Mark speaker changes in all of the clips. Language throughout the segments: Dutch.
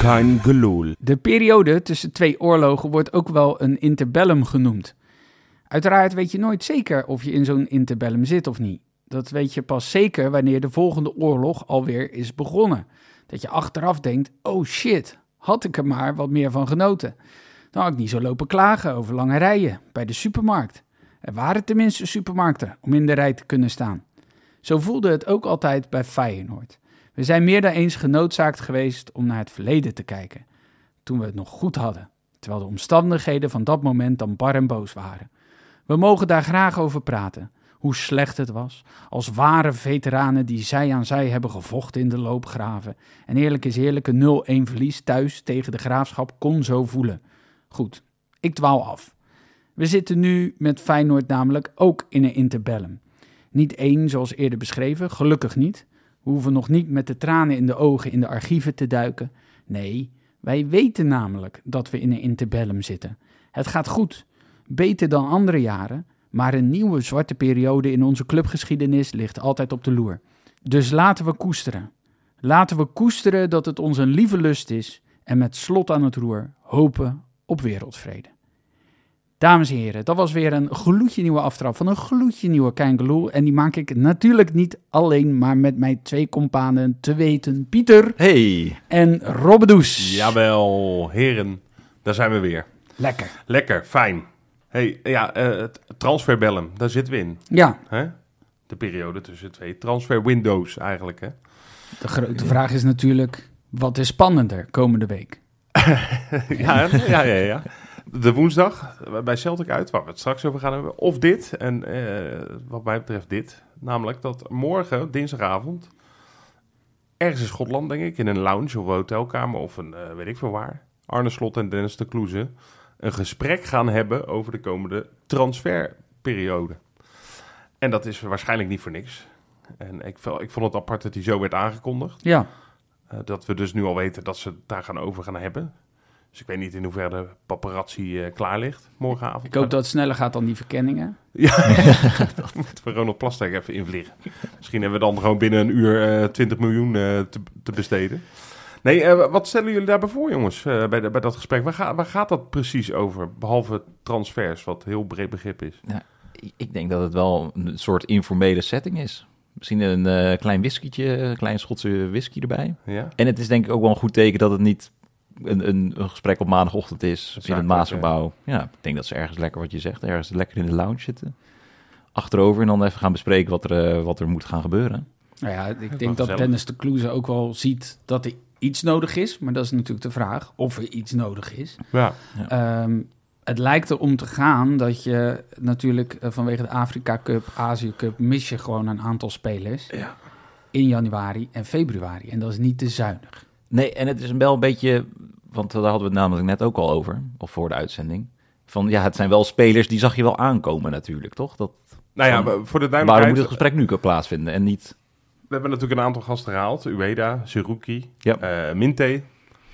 Speaker 1: kein gelul.
Speaker 2: De periode tussen twee oorlogen wordt ook wel een interbellum genoemd. Uiteraard weet je nooit zeker of je in zo'n interbellum zit of niet. Dat weet je pas zeker wanneer de volgende oorlog alweer is begonnen. Dat je achteraf denkt: oh shit, had ik er maar wat meer van genoten. Dan had ik niet zo lopen klagen over lange rijen bij de supermarkt. Er waren tenminste supermarkten om in de rij te kunnen staan. Zo voelde het ook altijd bij Feyenoord. We zijn meer dan eens genoodzaakt geweest om naar het verleden te kijken, toen we het nog goed hadden, terwijl de omstandigheden van dat moment dan bar en boos waren. We mogen daar graag over praten, hoe slecht het was, als ware veteranen die zij aan zij hebben gevochten in de loopgraven. En eerlijk is eerlijk, een 0-1 verlies thuis tegen de graafschap kon zo voelen. Goed, ik dwaal af. We zitten nu met Feyenoord namelijk ook in een interbellum. Niet één, zoals eerder beschreven, gelukkig niet. We hoeven nog niet met de tranen in de ogen in de archieven te duiken. Nee, wij weten namelijk dat we in een interbellum zitten. Het gaat goed, beter dan andere jaren, maar een nieuwe zwarte periode in onze clubgeschiedenis ligt altijd op de loer. Dus laten we koesteren. Laten we koesteren dat het ons een lieve lust is en met slot aan het roer hopen op wereldvrede. Dames en heren, dat was weer een gloedje nieuwe aftrap van een gloedje nieuwe Keingeloel. En die maak ik natuurlijk niet alleen, maar met mijn twee companen te weten Pieter
Speaker 1: Hey.
Speaker 2: en Robbedoes.
Speaker 3: Jawel, heren. Daar zijn we weer.
Speaker 2: Lekker.
Speaker 3: Lekker, fijn. hey, ja, eh, het transferbellum, daar zitten we in.
Speaker 2: Ja,
Speaker 3: Hè? De periode tussen twee transferwindows eigenlijk, hè?
Speaker 2: de grote vraag is natuurlijk, wat is spannender komende week?
Speaker 3: ja, hè? ja, ja, ja. De woensdag eh, bij Celtic uit, waar we het straks over gaan hebben. Of dit, en eh, wat mij betreft dit. Namelijk dat morgen, dinsdagavond, ergens in Schotland, denk ik, in een lounge of een hotelkamer of een eh, weet ik veel waar. Arne Slot en Dennis de Kloeze een gesprek gaan hebben over de komende transferperiode. En dat is waarschijnlijk niet voor niks. En ik, vo- ik vond het apart dat hij zo werd aangekondigd.
Speaker 2: Ja,
Speaker 3: Eh, dat we dus nu al weten dat ze het daar gaan over gaan hebben. Dus ik weet niet in hoeverre de paparazzi eh, klaar ligt morgenavond.
Speaker 2: ik hoop dat het sneller gaat dan die verkenningen.
Speaker 3: Ja, dat moeten we Ronald Plasterk even invliegen. Misschien hebben we dan gewoon binnen een uur eh, 20 miljoen eh, te, te besteden. Nee, eh, wat stellen jullie daarbij voor, jongens, eh, bij, de- bij dat gesprek? Waar, ga- waar gaat dat precies over, behalve transfers, wat heel breed begrip is?
Speaker 4: Ik denk dat het wel een soort informele setting is. Misschien een eh, klein whiskietje, een klein Schotse whisky erbij.
Speaker 3: Ja?
Speaker 4: En het is denk ik ook wel een goed teken dat het niet een, een, een gesprek op maandagochtend is in het
Speaker 3: Zakelijk,
Speaker 4: Maasgebouw. Ja, ik denk dat ze ergens lekker wat je zegt, ergens lekker in de lounge zitten. Achterover en dan even gaan bespreken wat er, eh, wat er moet gaan gebeuren.
Speaker 2: Nou ja, ik
Speaker 3: wel
Speaker 2: denk dat
Speaker 3: gezellig.
Speaker 2: Dennis de Kloeze ook wel ziet dat er iets nodig is. Maar dat is natuurlijk de vraag of er iets nodig is.
Speaker 3: ja.
Speaker 2: Ehm, het lijkt erom te gaan dat je natuurlijk eh, vanwege de Afrika Cup, Azië Cup... mis je gewoon een aantal spelers in januari en februari. En dat is niet te zuinig.
Speaker 4: Nee, en het is wel een beetje, want daar hadden we het namelijk net ook al over, of voor de uitzending. Van ja, het zijn wel spelers die zag je wel aankomen natuurlijk, toch? Dat,
Speaker 3: Nou ja,
Speaker 4: Van-
Speaker 3: we- voor de
Speaker 4: waarom moet
Speaker 3: duidelijkheid,
Speaker 4: het gesprek nu plaatsvinden en niet...
Speaker 3: we hebben natuurlijk een aantal gasten gehaald. Ueda, Seruki,
Speaker 4: Ja.
Speaker 3: eh, Minte.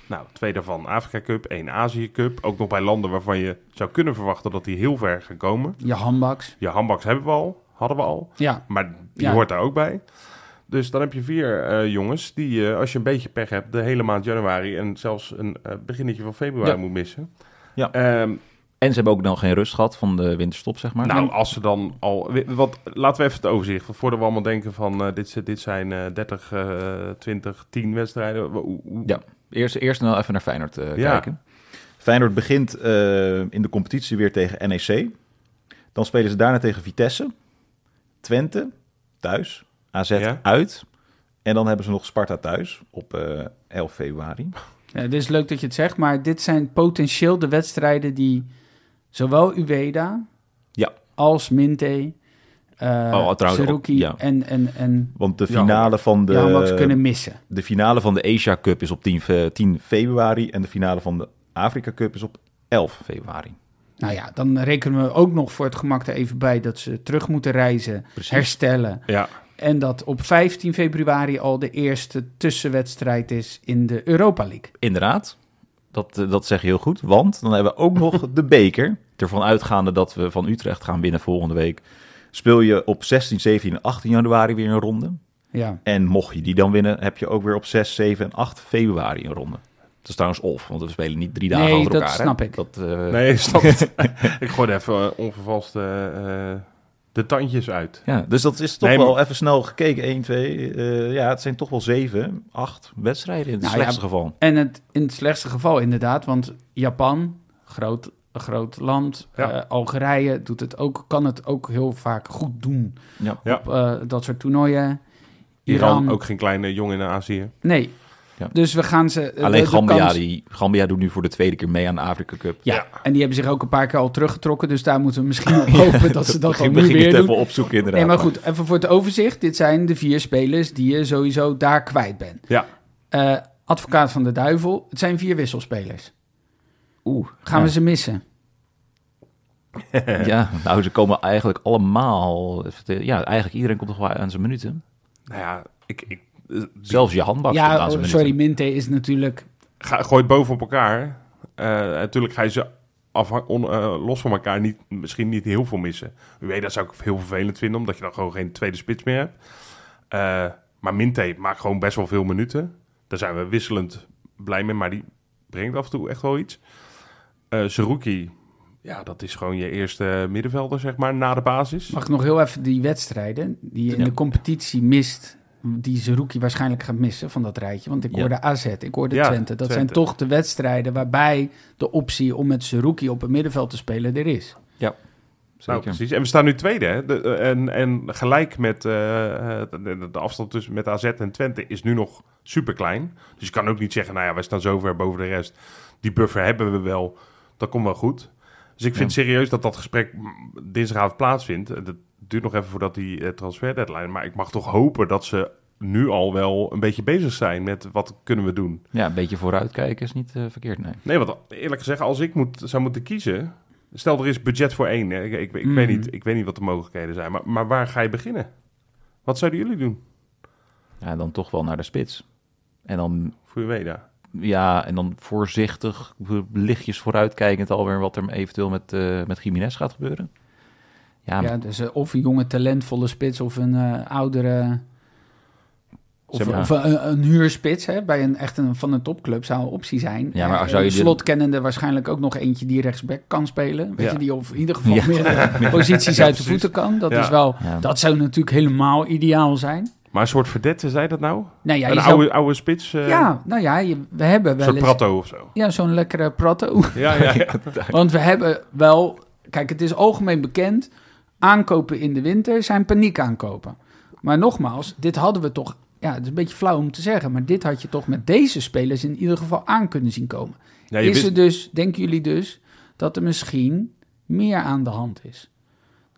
Speaker 3: Nou, twee daarvan Afrika Cup, één Azië Cup. Ook nog bij landen waarvan je zou kunnen verwachten dat die heel ver gaan komen.
Speaker 2: Je handbaks.
Speaker 3: Je handbaks hebben we al, hadden we al.
Speaker 2: Ja,
Speaker 3: Maar die
Speaker 2: Ja.
Speaker 3: hoort daar ook bij. Dus dan heb je vier eh, jongens die, eh, als je een beetje pech hebt, de hele maand januari en zelfs een eh, beginnetje van februari
Speaker 4: Ja.
Speaker 3: moet missen.
Speaker 4: Ja.
Speaker 3: Ehm,
Speaker 4: En ze hebben ook dan geen rust gehad van de winterstop, zeg maar.
Speaker 3: nou, als ze dan al. Wat, laten we even het overzicht. want Voordat we allemaal denken van eh, dit, zi- dit zijn eh 30, eh 20, 10 wedstrijden. Wa- hoe- hoe-
Speaker 4: Ja, eerst, eerst nou even naar Feyenoord eh,
Speaker 3: Ja.
Speaker 4: kijken.
Speaker 5: Feyenoord begint eh, in de competitie weer tegen NEC. Dan spelen ze daarna tegen Vitesse, Twente, thuis, AZ
Speaker 3: Ja.
Speaker 5: uit. En dan hebben ze nog Sparta thuis op eh 11 februari.
Speaker 2: eh, dit is leuk dat je het zegt. Maar dit zijn potentieel de wedstrijden die zowel Ueda
Speaker 4: Ja.
Speaker 2: als Minte... eh
Speaker 4: Oh, trouwens,
Speaker 2: Saruki
Speaker 4: ja.
Speaker 2: en, en, en
Speaker 5: Want de
Speaker 3: Ja,
Speaker 5: finale, van, de,
Speaker 2: je handbaks kunnen missen.
Speaker 5: de finale van de Asia Cup is op 10, fe- 10 februari. En de finale van de Afrika Cup is op 11 februari.
Speaker 2: Nou ja, dan rekenen we ook nog voor het gemak er even bij dat ze terug moeten reizen, herstellen.
Speaker 3: ja.
Speaker 2: En dat op 15 februari al de eerste tussenwedstrijd is in de Europa League.
Speaker 4: Inderdaad, dat, eh, dat zeg je heel goed. Want dan hebben we ook nog de beker. Ervan uitgaande dat we van Utrecht gaan winnen volgende week.
Speaker 5: Speel je op 16, 17 en 18 januari weer een ronde.
Speaker 2: Ja,
Speaker 5: En mocht je die dan winnen, heb je ook weer op 6, 7 en 8 februari een ronde.
Speaker 4: Dat is trouwens of, want we spelen niet drie dagen
Speaker 2: Nee,
Speaker 4: achter
Speaker 2: dat
Speaker 4: elkaar. hè.
Speaker 2: snap ik.
Speaker 4: Dat, eh,
Speaker 3: Nee, snap het. ik gooi er even eh, onvervalst eh, eh, de tandjes uit.
Speaker 4: Ja,
Speaker 5: Dus dat is toch
Speaker 3: Nee, maar-
Speaker 5: wel even snel gekeken. 1, 2, eh, ja, het zijn toch wel 7, 8.
Speaker 4: wedstrijden in het
Speaker 2: Nou ja,
Speaker 4: slechtste geval.
Speaker 2: En het, in het slechtste geval inderdaad, want Japan, groot, groot land,
Speaker 3: Ja.
Speaker 2: eh, Algerije doet het ook, kan het ook heel vaak goed doen
Speaker 4: Ja.
Speaker 3: Ja.
Speaker 2: op eh, dat soort toernooien.
Speaker 3: Iran,
Speaker 2: Iran,
Speaker 3: ook geen kleine jongen in Azië.
Speaker 2: Nee,
Speaker 4: Ja.
Speaker 2: dus we gaan ze... eh, de-
Speaker 4: Alleen
Speaker 2: de
Speaker 4: Gambia,
Speaker 2: kans-
Speaker 4: die, Gambia doet nu voor de tweede keer mee aan de Afrika Cup.
Speaker 2: Ja, en die hebben zich ook een paar keer al teruggetrokken, dus daar moeten we misschien op hopen dat ze dat
Speaker 4: begin,
Speaker 2: dan nu
Speaker 4: begin ik
Speaker 2: weer
Speaker 4: het
Speaker 2: doen.
Speaker 4: even opzoeken inderdaad.
Speaker 2: Nee, maar goed, even voor het overzicht. Dit zijn de vier spelers die je sowieso daar kwijt bent.
Speaker 3: Ja.
Speaker 2: Eh, advocaat van de duivel, het zijn vier wisselspelers.
Speaker 4: Oeh,
Speaker 2: Gaan
Speaker 4: ja.
Speaker 2: we ze missen?
Speaker 4: Ja, nou, ze komen eigenlijk allemaal... Ja, eigenlijk iedereen komt toch wel aan zijn minuten.
Speaker 3: Nou ja, ik, ik
Speaker 4: Zelfs je handbak komt
Speaker 2: ja,
Speaker 4: aan zijn
Speaker 2: oh,
Speaker 4: minuten.
Speaker 2: sorry, Minte is natuurlijk...
Speaker 3: ga, gooi het boven op elkaar. Eh, natuurlijk ga je ze afhan- on- eh, los van elkaar niet, misschien niet heel veel missen. Ueda dat zou ik heel vervelend vinden, omdat je dan gewoon geen tweede spits meer hebt. Eh, maar Minte maakt gewoon best wel veel minuten. Daar zijn we wisselend blij mee, maar die brengt af en toe echt wel iets. Eh Seruki, ja, dat is gewoon je eerste middenvelder, zeg maar, na de basis.
Speaker 2: Mag ik nog heel even die wedstrijden die je in
Speaker 4: Ja.
Speaker 2: de competitie mist... die Zerouki waarschijnlijk gaat missen van dat rijtje. Want ik
Speaker 4: Ja.
Speaker 2: hoorde AZ, ik hoorde
Speaker 3: Ja,
Speaker 2: Twente. Dat zijn
Speaker 3: Twente.
Speaker 2: toch de wedstrijden waarbij de optie om met Zerouki op het middenveld te spelen er is.
Speaker 3: Nou,
Speaker 4: Zeker.
Speaker 3: precies. En we staan nu tweede. Hè? De, eh, en, en gelijk met eh, eh, de, de afstand tussen met AZ en Twente is nu nog super klein. Dus je kan ook niet zeggen, nou ja, wij staan zo ver boven de rest. Die buffer hebben we wel. Dat komt wel goed. Dus ik vind serieus dat dat gesprek mm, dinsdagavond plaatsvindt. En Dat duurt nog even voordat die eh, transfer deadline. Maar ik mag toch hopen dat ze nu al wel een beetje bezig zijn met wat kunnen we doen.
Speaker 4: Ja, een beetje vooruitkijken is niet eh, verkeerd, nee.
Speaker 3: Nee, want eerlijk gezegd, als ik moet, zou moeten kiezen... Stel, er is budget voor één. Hè? Ik, ik, ik, weet
Speaker 2: Mhm.
Speaker 3: niet, ik weet niet wat de mogelijkheden zijn. Maar, maar waar ga je beginnen? Wat zouden jullie doen
Speaker 4: Ja, dan toch wel naar de spits. En dan,
Speaker 3: voor Ueda?
Speaker 4: ja, en dan voorzichtig, lichtjes vooruitkijkend alweer wat er eventueel met, eh met Jiménez gaat gebeuren. Ja,
Speaker 2: Ja, dus eh, of een jonge talentvolle spits of een eh, oudere... Of,
Speaker 4: Zeg maar-
Speaker 2: of eh, een, een huurspits hè, bij een echt een, van een topclub zou een optie zijn.
Speaker 4: Ja, maar
Speaker 2: Eh,
Speaker 4: als zou je
Speaker 2: een
Speaker 4: dit-
Speaker 2: slot kennende waarschijnlijk ook nog eentje die rechtsback kan spelen. Weet
Speaker 3: Ja.
Speaker 2: je, die of in ieder geval
Speaker 4: Ja.
Speaker 2: meer posities
Speaker 3: Ja,
Speaker 2: uit de
Speaker 3: precies.
Speaker 2: voeten kan. Dat,
Speaker 3: Ja.
Speaker 2: is wel,
Speaker 4: Ja.
Speaker 2: dat zou natuurlijk helemaal ideaal zijn.
Speaker 3: Maar een soort verdette, zei dat nou?
Speaker 2: Nou ja, je
Speaker 3: een
Speaker 2: zou-
Speaker 3: oude, oude spits? eh,
Speaker 2: ja, nou ja je- we hebben
Speaker 3: Een
Speaker 2: wel
Speaker 3: soort
Speaker 2: eens...
Speaker 3: pratto of zo?
Speaker 2: Ja, zo'n lekkere pratto.
Speaker 3: Ja, ja, ja.
Speaker 2: Want we hebben wel, kijk, het is algemeen bekend, aankopen in de winter zijn paniekaankopen. Maar nogmaals, dit hadden we toch, ja, het is een beetje flauw om te zeggen, maar dit had je toch met deze spelers in ieder geval aan kunnen zien komen.
Speaker 3: Ja, je
Speaker 2: is
Speaker 3: wist-
Speaker 2: er dus, denken jullie dus, dat er misschien meer aan de hand is?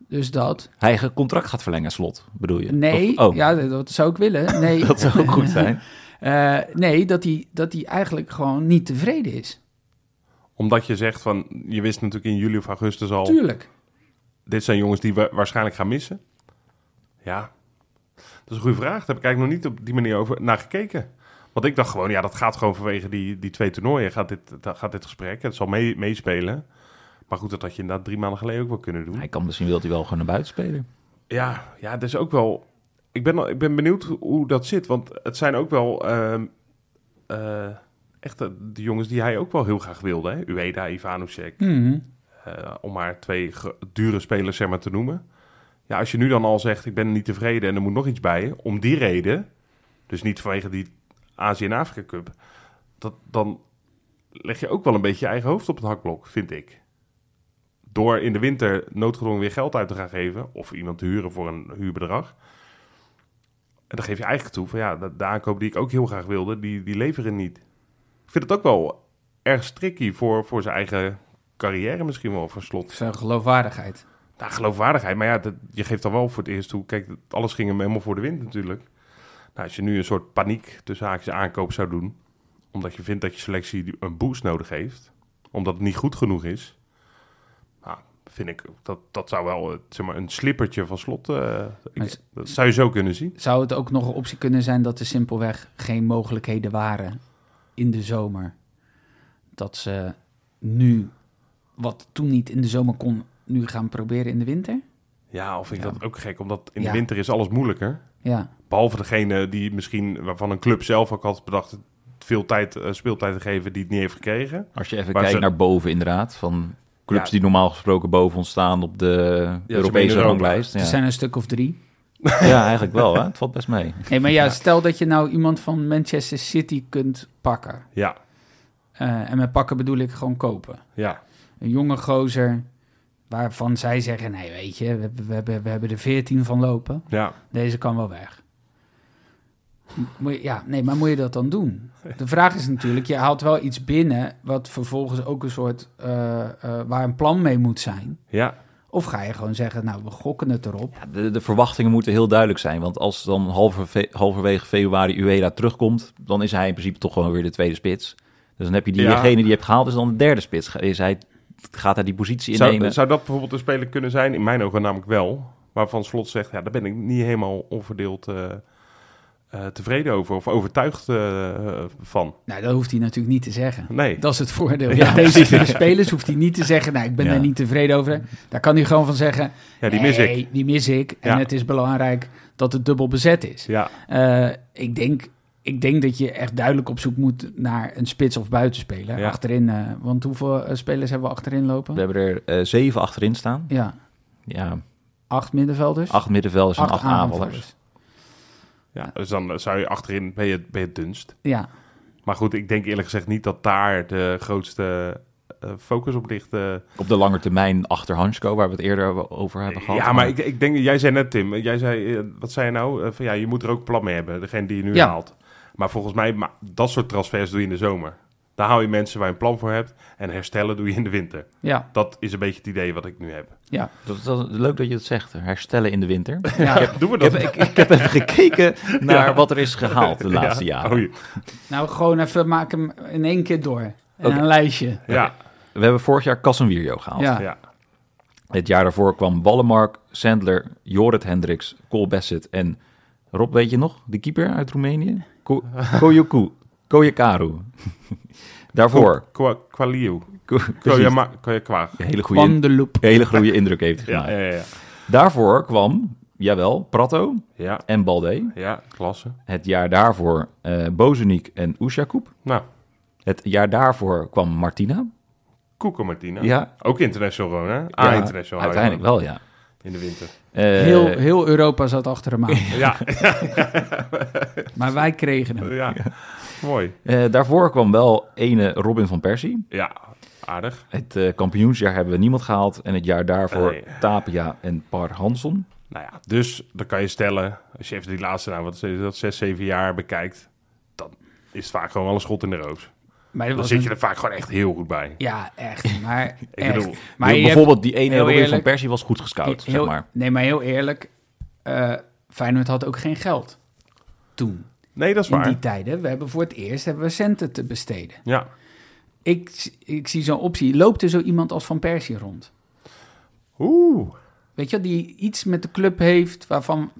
Speaker 2: Dus dat,
Speaker 4: hij een contract gaat verlengen, slot, bedoel je?
Speaker 2: nee,
Speaker 4: Of- oh,
Speaker 2: ja, dat zou ik willen. Nee,
Speaker 4: dat zou ook goed zijn.
Speaker 2: Eh, nee dat hij dat die eigenlijk gewoon niet tevreden is.
Speaker 3: Omdat je zegt van, je wist natuurlijk in juli of augustus
Speaker 4: Oh.
Speaker 3: al...
Speaker 2: Tuurlijk.
Speaker 3: Dit zijn jongens die we waarschijnlijk gaan missen. Ja, dat is een goede vraag. Daar heb ik eigenlijk nog niet op die manier over naar gekeken. Want ik dacht gewoon, ja, dat gaat gewoon vanwege die, die twee toernooien. Gaat dit, da- gaat dit gesprek, het zal mee, meespelen. Maar goed, dat had je inderdaad drie maanden geleden ook wel kunnen doen.
Speaker 4: Hij kan misschien, wil hij wel gewoon naar buiten spelen.
Speaker 3: Ja, ja, dat is ook wel. Ik ben, al- ik ben benieuwd hoe dat zit. Want het zijn ook wel ehm, eh, echt de, de jongens die hij ook wel heel graag wilde. Hè? Ueda, Ivanusek,
Speaker 2: Mhm.
Speaker 3: eh, om maar twee ge- dure spelers zeg maar, te noemen. Ja, als je nu dan al zegt, ik ben niet tevreden en er moet nog iets bij, om die reden, dus niet vanwege die Azië en Afrika Cup, dat, dan leg je ook wel een beetje je eigen hoofd op het hakblok, vind ik. Door in de winter noodgedwongen weer geld uit te gaan geven, of iemand te huren voor een huurbedrag. En dan geef je eigenlijk toe van ja, de, de aankoop die ik ook heel graag wilde, die, die leveren niet. Ik vind het ook wel erg tricky voor, voor zijn eigen carrière misschien wel, voor slot.
Speaker 2: Zijn geloofwaardigheid.
Speaker 3: Nou, geloofwaardigheid. Maar ja, dat, je geeft dan wel voor het eerst toe. Kijk, dat- alles ging hem helemaal voor de wind natuurlijk. Nou, als je nu een soort paniek tussen haakjes aankoop zou doen... omdat je vindt dat je selectie die- een boost nodig heeft... omdat het niet goed genoeg is... Nou, vind ik, dat, dat zou wel eh, zeg maar, een slippertje van slot... eh, ik-
Speaker 2: Maar z-
Speaker 3: dat zou je zo kunnen zien.
Speaker 2: Zou het ook nog een optie kunnen zijn dat er simpelweg geen mogelijkheden waren in de zomer? Dat ze nu, wat toen niet in de zomer kon, nu gaan proberen in de winter?
Speaker 3: Ja, of vind ik dat ook gek, omdat in
Speaker 2: Ja.
Speaker 3: de winter is alles moeilijker.
Speaker 2: Ja,
Speaker 3: Behalve degene die misschien, waarvan een club zelf ook had bedacht... veel tijd, eh, speeltijd te geven die het niet heeft gekregen.
Speaker 4: Als je even
Speaker 3: Maar
Speaker 4: kijkt
Speaker 3: ze-
Speaker 4: naar boven inderdaad, van clubs
Speaker 3: Ja.
Speaker 4: die normaal gesproken boven ons staan op de Europese
Speaker 3: Europa.
Speaker 4: ranglijst.
Speaker 2: Er
Speaker 4: Ja.
Speaker 2: zijn een stuk of drie.
Speaker 4: ja, eigenlijk wel. Hè? Het valt best mee.
Speaker 2: Nee, maar ja, stel dat je nou iemand van Manchester City kunt pakken.
Speaker 3: Ja,
Speaker 2: Eh, en met pakken bedoel ik gewoon kopen.
Speaker 3: ja.
Speaker 2: Een jonge gozer waarvan zij zeggen... nee, weet je, we, we, hebben- we hebben er veertien van lopen.
Speaker 3: ja.
Speaker 2: Deze kan wel weg. Moet je- ja, nee, maar moet je dat dan doen? De vraag is natuurlijk, je haalt wel iets binnen... wat vervolgens ook een soort... eh, eh, waar een plan mee moet zijn.
Speaker 3: ja.
Speaker 2: Of ga je gewoon zeggen, nou, we gokken het erop.
Speaker 4: Ja, de, de verwachtingen moeten heel duidelijk zijn. Want als dan halverve- halverwege februari Ueda terugkomt, dan is hij in principe toch gewoon weer de tweede spits. Dus dan heb je
Speaker 3: Ja.
Speaker 4: diegene die je hebt gehaald, is dan de derde spits. Ga- Is hij, gaat hij die positie
Speaker 3: Zou,
Speaker 4: innemen?
Speaker 3: zou dat bijvoorbeeld een speler kunnen zijn? In mijn ogen namelijk wel. Waarvan Slot zegt, ja, daar ben ik niet helemaal onverdeeld eh, eh, tevreden over of overtuigd eh, eh, van.
Speaker 2: Nou, dat hoeft hij natuurlijk niet te zeggen.
Speaker 3: Nee.
Speaker 2: Dat is het voordeel.
Speaker 4: Ja,
Speaker 2: Ja, deze vier spelers hoeft hij niet te zeggen, nou, ik ben
Speaker 4: Ja.
Speaker 2: daar niet tevreden over. Daar kan hij gewoon van zeggen,
Speaker 3: ja, die mis ik.
Speaker 2: "Nee, die mis ik. En
Speaker 3: Ja.
Speaker 2: het is belangrijk dat het dubbel bezet is.
Speaker 3: Ja,
Speaker 2: Eh, ik, denk, ik denk dat je echt duidelijk op zoek moet naar een spits of buitenspeler.
Speaker 3: Ja.
Speaker 2: Achterin, eh, want hoeveel eh, spelers hebben we achterin lopen?
Speaker 4: We hebben er eh, zeven achterin staan.
Speaker 2: Ja,
Speaker 4: Ja,
Speaker 2: acht middenvelders.
Speaker 4: acht middenvelders en acht, aanvallers.
Speaker 2: aanvallers.
Speaker 3: ja. Dus dan zou je achterin, ben je, ben je het dunst.
Speaker 2: Ja,
Speaker 3: Maar goed, ik denk eerlijk gezegd niet dat daar de grootste eh, focus op ligt. eh.
Speaker 4: Op de lange termijn achter Hansko, waar we het eerder over hebben gehad.
Speaker 3: ja, maar ik, ik denk, jij zei net Tim, jij zei, eh, wat zei je nou? Eh, van, ja, je moet er ook een plan mee hebben, degene die je nu
Speaker 2: Ja.
Speaker 3: haalt. Maar volgens mij, maar dat soort transfers doe je in de zomer. Daar hou je mensen waar je een plan voor hebt. En herstellen doe je in de winter.
Speaker 2: ja,
Speaker 3: Dat is een beetje het idee wat ik nu heb.
Speaker 2: ja.
Speaker 4: Dat, dat- leuk dat je het zegt. Herstellen in de winter.
Speaker 2: ja.
Speaker 3: Doen we
Speaker 4: Ik
Speaker 3: dat?
Speaker 4: heb, ik, ik heb even gekeken naar wat er is gehaald de laatste
Speaker 3: ja.
Speaker 4: jaren.
Speaker 3: Oh, je-
Speaker 2: nou, gewoon even maak hem in één keer door. En
Speaker 4: Oké.
Speaker 2: een lijstje.
Speaker 3: ja,
Speaker 4: We hebben vorig jaar Casemiro gehaald.
Speaker 2: Ja.
Speaker 3: ja.
Speaker 4: Het jaar daarvoor kwam Wallenmark, Sandler, Jorrit Hendricks, Cole Bassett en Rob, weet je nog? De keeper uit Roemenië? Ko- Koyoku, Koyakaru. daarvoor.
Speaker 3: Kwa- Kwaliu.
Speaker 4: Ko- precies.
Speaker 3: Koyama- Koyakwaag.
Speaker 4: Een hele
Speaker 2: Van
Speaker 4: goede,
Speaker 2: de loop.
Speaker 4: hele goede indruk heeft hij
Speaker 3: Ja,
Speaker 4: gemaakt.
Speaker 3: ja, ja.
Speaker 4: Daarvoor kwam, jawel, Prato
Speaker 3: Ja,
Speaker 4: en Balde.
Speaker 3: ja, klasse.
Speaker 4: Het jaar daarvoor eh Bozenik en Ushakoub.
Speaker 3: Nou,
Speaker 4: Het jaar daarvoor kwam Martina.
Speaker 3: Koeko Martina.
Speaker 4: Ja.
Speaker 3: Ook international, hè? Ah,
Speaker 4: Ja,
Speaker 3: international.
Speaker 4: Uiteindelijk wel, ja.
Speaker 3: In de winter.
Speaker 4: Eh,
Speaker 2: Heel, heel Europa zat achter hem aan.
Speaker 3: Ja,
Speaker 2: Maar wij kregen hem.
Speaker 3: ja. Mooi.
Speaker 4: eh, daarvoor kwam wel ene Robin van Persie.
Speaker 3: Ja, aardig.
Speaker 4: Het eh, kampioensjaar hebben we niemand gehaald. En het jaar daarvoor
Speaker 3: Nee.
Speaker 4: Tapia en Par Hanson.
Speaker 3: Nou ja, dus dan kan je stellen, als je even die laatste, nou, wat is dat, zes, zeven jaar bekijkt, dan is het vaak gewoon wel een schot in de roos.
Speaker 2: Maar dat
Speaker 3: Dan
Speaker 2: was
Speaker 3: zit
Speaker 2: een-
Speaker 3: je er vaak gewoon echt heel goed bij.
Speaker 2: Ja, echt. Maar,
Speaker 3: Ik
Speaker 2: echt.
Speaker 3: bedoel,
Speaker 2: maar
Speaker 4: Heel-
Speaker 2: je hebt-
Speaker 4: bijvoorbeeld die ene
Speaker 2: heel
Speaker 4: Robin van
Speaker 2: eerlijk-
Speaker 4: Persie was goed gescout,
Speaker 2: heel-
Speaker 4: zeg maar.
Speaker 2: Nee, maar heel eerlijk. eh Feyenoord had ook geen geld toen.
Speaker 3: Nee, dat is
Speaker 2: In
Speaker 3: waar.
Speaker 2: die tijden. We hebben voor het eerst hebben we centen te besteden.
Speaker 3: Ja.
Speaker 2: Ik, ik zie zo'n optie. Loopt er zo iemand als Van Persie rond?
Speaker 3: Oeh.
Speaker 2: Weet je, wel, die iets met de club heeft waarvan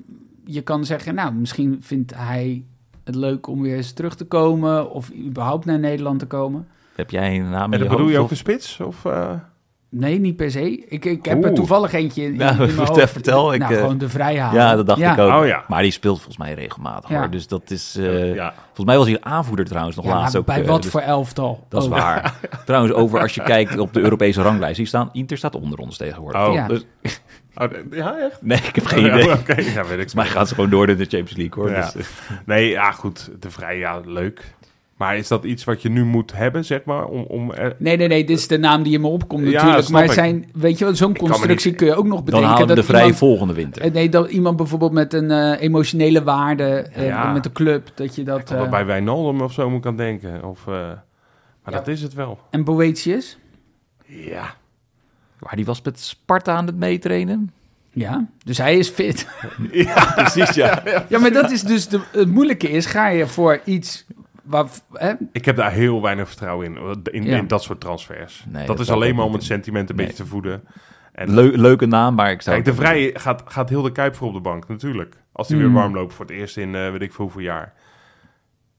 Speaker 2: je kan zeggen... nou, misschien vindt hij het leuk om weer eens terug te komen... of überhaupt naar Nederland te komen.
Speaker 4: Heb jij een naam
Speaker 3: En
Speaker 4: in
Speaker 3: dan
Speaker 4: je
Speaker 3: bedoel je ook dus-
Speaker 4: hoofd?
Speaker 3: een spits? Of, eh?
Speaker 2: Nee, niet per se. Ik, ik heb er
Speaker 3: Oeh.
Speaker 2: toevallig eentje in, in
Speaker 4: Nou,
Speaker 2: mijn
Speaker 4: vertel-
Speaker 2: hoofd.
Speaker 4: vertel, ik,
Speaker 2: nou,
Speaker 4: eh,
Speaker 2: gewoon de
Speaker 4: of-
Speaker 2: vrijheid.
Speaker 4: Ja, dat dacht ik ook.
Speaker 3: Oh ja.
Speaker 4: Maar die speelt volgens mij regelmatig,
Speaker 2: Ja.
Speaker 4: hoor. Dus dat is... eh,
Speaker 3: ja.
Speaker 4: Volgens mij was hij aanvoerder trouwens nog
Speaker 2: Ja,
Speaker 4: laatst
Speaker 2: maar
Speaker 4: ook.
Speaker 2: bij
Speaker 4: eh,
Speaker 2: wat
Speaker 4: dus
Speaker 2: voor Oh. elftal?
Speaker 4: Dat is
Speaker 2: ook.
Speaker 4: waar. trouwens, over als je kijkt op de Europese ranglijst. Die staan, Inter staat onder ons tegenwoordig.
Speaker 3: Oh.
Speaker 2: Ja.
Speaker 4: Dus-
Speaker 3: Oh, d- ja, echt?
Speaker 4: nee, ik heb geen
Speaker 3: Ja,
Speaker 4: idee.
Speaker 3: Oké,
Speaker 4: Volgens
Speaker 3: ja, weet ik.
Speaker 4: mij gaan ze gewoon door naar de Champions League, hoor.
Speaker 3: Ja.
Speaker 4: Dus, eh,
Speaker 3: Nee, ja, goed. De vrij, ja, leuk. Maar is dat iets wat je nu moet hebben, zeg maar? Om, om er-
Speaker 2: Nee, nee, nee, dit is de naam die in me opkomt
Speaker 3: Ja,
Speaker 2: natuurlijk.
Speaker 3: snap
Speaker 2: Maar
Speaker 3: ik.
Speaker 2: zijn, weet je wel, zo'n
Speaker 3: kan me
Speaker 2: constructie
Speaker 3: niet-
Speaker 2: kun je ook nog
Speaker 4: dan
Speaker 2: bedenken.
Speaker 4: halen we de
Speaker 2: dat
Speaker 4: vrij
Speaker 2: iemand-
Speaker 4: volgende winter.
Speaker 2: eh, Nee, dat iemand bijvoorbeeld met een eh, emotionele waarde eh,
Speaker 3: Ja.
Speaker 2: met de club, dat je dat...
Speaker 3: dat
Speaker 2: eh,
Speaker 3: bij Wijnaldum of zo moet aan denken? Of, eh, maar
Speaker 2: Ja.
Speaker 3: dat is het wel.
Speaker 2: en Boetius?
Speaker 3: Ja.
Speaker 4: Maar die was met Sparta aan het meetrainen.
Speaker 2: Ja, dus hij is fit.
Speaker 4: Precies, ja.
Speaker 2: ja, maar dat is dus... De, het moeilijke is, ga je voor iets... Waar, hè?
Speaker 3: Ik heb daar heel weinig vertrouwen in, in,
Speaker 2: Ja.
Speaker 3: in dat soort transfers.
Speaker 4: Nee,
Speaker 3: dat,
Speaker 4: dat
Speaker 3: is
Speaker 4: zou ik
Speaker 3: alleen
Speaker 4: ook
Speaker 3: maar om
Speaker 4: niet
Speaker 3: het sentiment een
Speaker 4: Nee.
Speaker 3: beetje te voeden. En
Speaker 4: Leu- leuke naam, maar ik zou...
Speaker 3: Kijk, de Vrij gaat, gaat heel de Kuip voor op de bank, natuurlijk. Als hij
Speaker 2: Mm.
Speaker 3: weer warm loopt voor het eerst in eh, weet ik veel hoeveel jaar.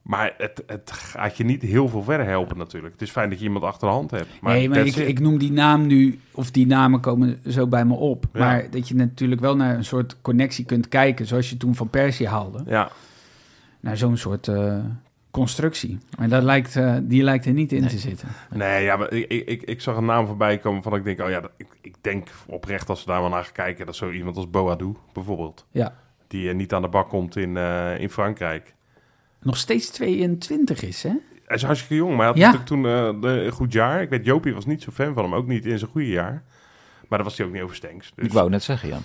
Speaker 3: Maar het, het gaat je niet heel veel verder helpen, natuurlijk. Het is fijn dat je iemand achter de hand hebt. Maar
Speaker 2: nee, maar
Speaker 3: that's
Speaker 2: ik,
Speaker 3: it.
Speaker 2: ik noem die naam nu, of die namen komen zo bij me op.
Speaker 3: Ja.
Speaker 2: Maar dat je natuurlijk wel naar een soort connectie kunt kijken, zoals je toen van Persie haalde.
Speaker 3: Ja,
Speaker 2: Naar zo'n soort eh, constructie. Maar dat lijkt, eh, die lijkt er niet in te zitten.
Speaker 3: Nee, ja, maar ik, ik, ik- ik zag een naam voorbij komen van ik denk, oh ja, dat- ik, ik denk oprecht als we daar maar naar gaan kijken, dat zo iemand als Boadu bijvoorbeeld,
Speaker 2: Ja.
Speaker 3: die eh, niet aan de bak komt in, eh, in Frankrijk.
Speaker 2: Nog steeds 22 is, hè?
Speaker 3: Hij is hartstikke jong, maar hij had
Speaker 2: Ja.
Speaker 3: natuurlijk toen eh, de- een goed jaar. Ik weet, Jopie was niet zo fan van hem, ook niet in zijn goede jaar. Maar dat was hij ook niet over Stenks. Dus,
Speaker 4: Ik wou net zeggen, ja.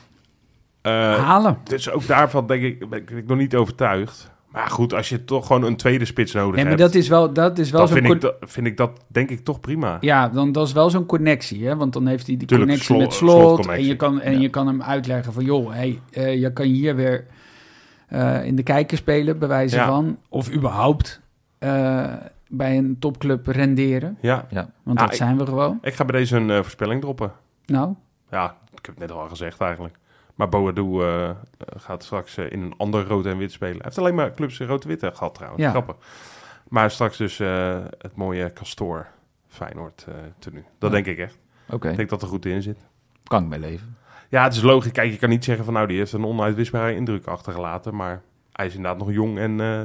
Speaker 3: eh,
Speaker 2: Halen.
Speaker 3: dus ook daarvan denk ik, ben ik- ben ik nog niet overtuigd. Maar goed, als je toch gewoon een tweede spits nodig
Speaker 2: Nee, maar
Speaker 3: hebt,
Speaker 2: dat is wel, dat is wel
Speaker 3: dan
Speaker 2: zo'n...
Speaker 3: vind,
Speaker 2: con-
Speaker 3: ik dat, vind ik dat denk ik toch prima.
Speaker 2: Ja, dan, dat is wel zo'n connectie, hè? Want dan heeft hij die
Speaker 3: Tuurlijk,
Speaker 2: connectie
Speaker 3: slot-
Speaker 2: met slot. en
Speaker 3: slotconnectie.
Speaker 2: je kan, en
Speaker 4: Ja.
Speaker 2: je kan hem uitleggen van... joh, hey, eh, je kan hier weer eh, in de kijker spelen, bij wijze
Speaker 3: Ja.
Speaker 2: van. Of überhaupt eh, bij een topclub renderen.
Speaker 3: Ja,
Speaker 2: Want
Speaker 3: Ja,
Speaker 2: dat
Speaker 3: Nou, ik-
Speaker 2: zijn we gewoon.
Speaker 3: ik ga bij deze een eh, voorspelling droppen.
Speaker 2: Nou,
Speaker 3: Ja, ik heb het net al gezegd eigenlijk. Maar Boadu eh, eh, gaat straks eh, in een ander rood en wit spelen. Hij heeft alleen maar clubs in rood en wit eh, gehad trouwens.
Speaker 2: Ja.
Speaker 3: Grappig. Maar straks dus eh, het mooie Castor Feyenoord eh tenue. Dat
Speaker 4: Ja.
Speaker 3: denk ik echt.
Speaker 4: Oké,
Speaker 3: Ik denk dat er goed in zit.
Speaker 4: kan ik mee leven.
Speaker 3: Ja, het is logisch. Kijk, je kan niet zeggen van nou, die heeft een onuitwisbare indruk achtergelaten. Maar hij is inderdaad nog jong en eh,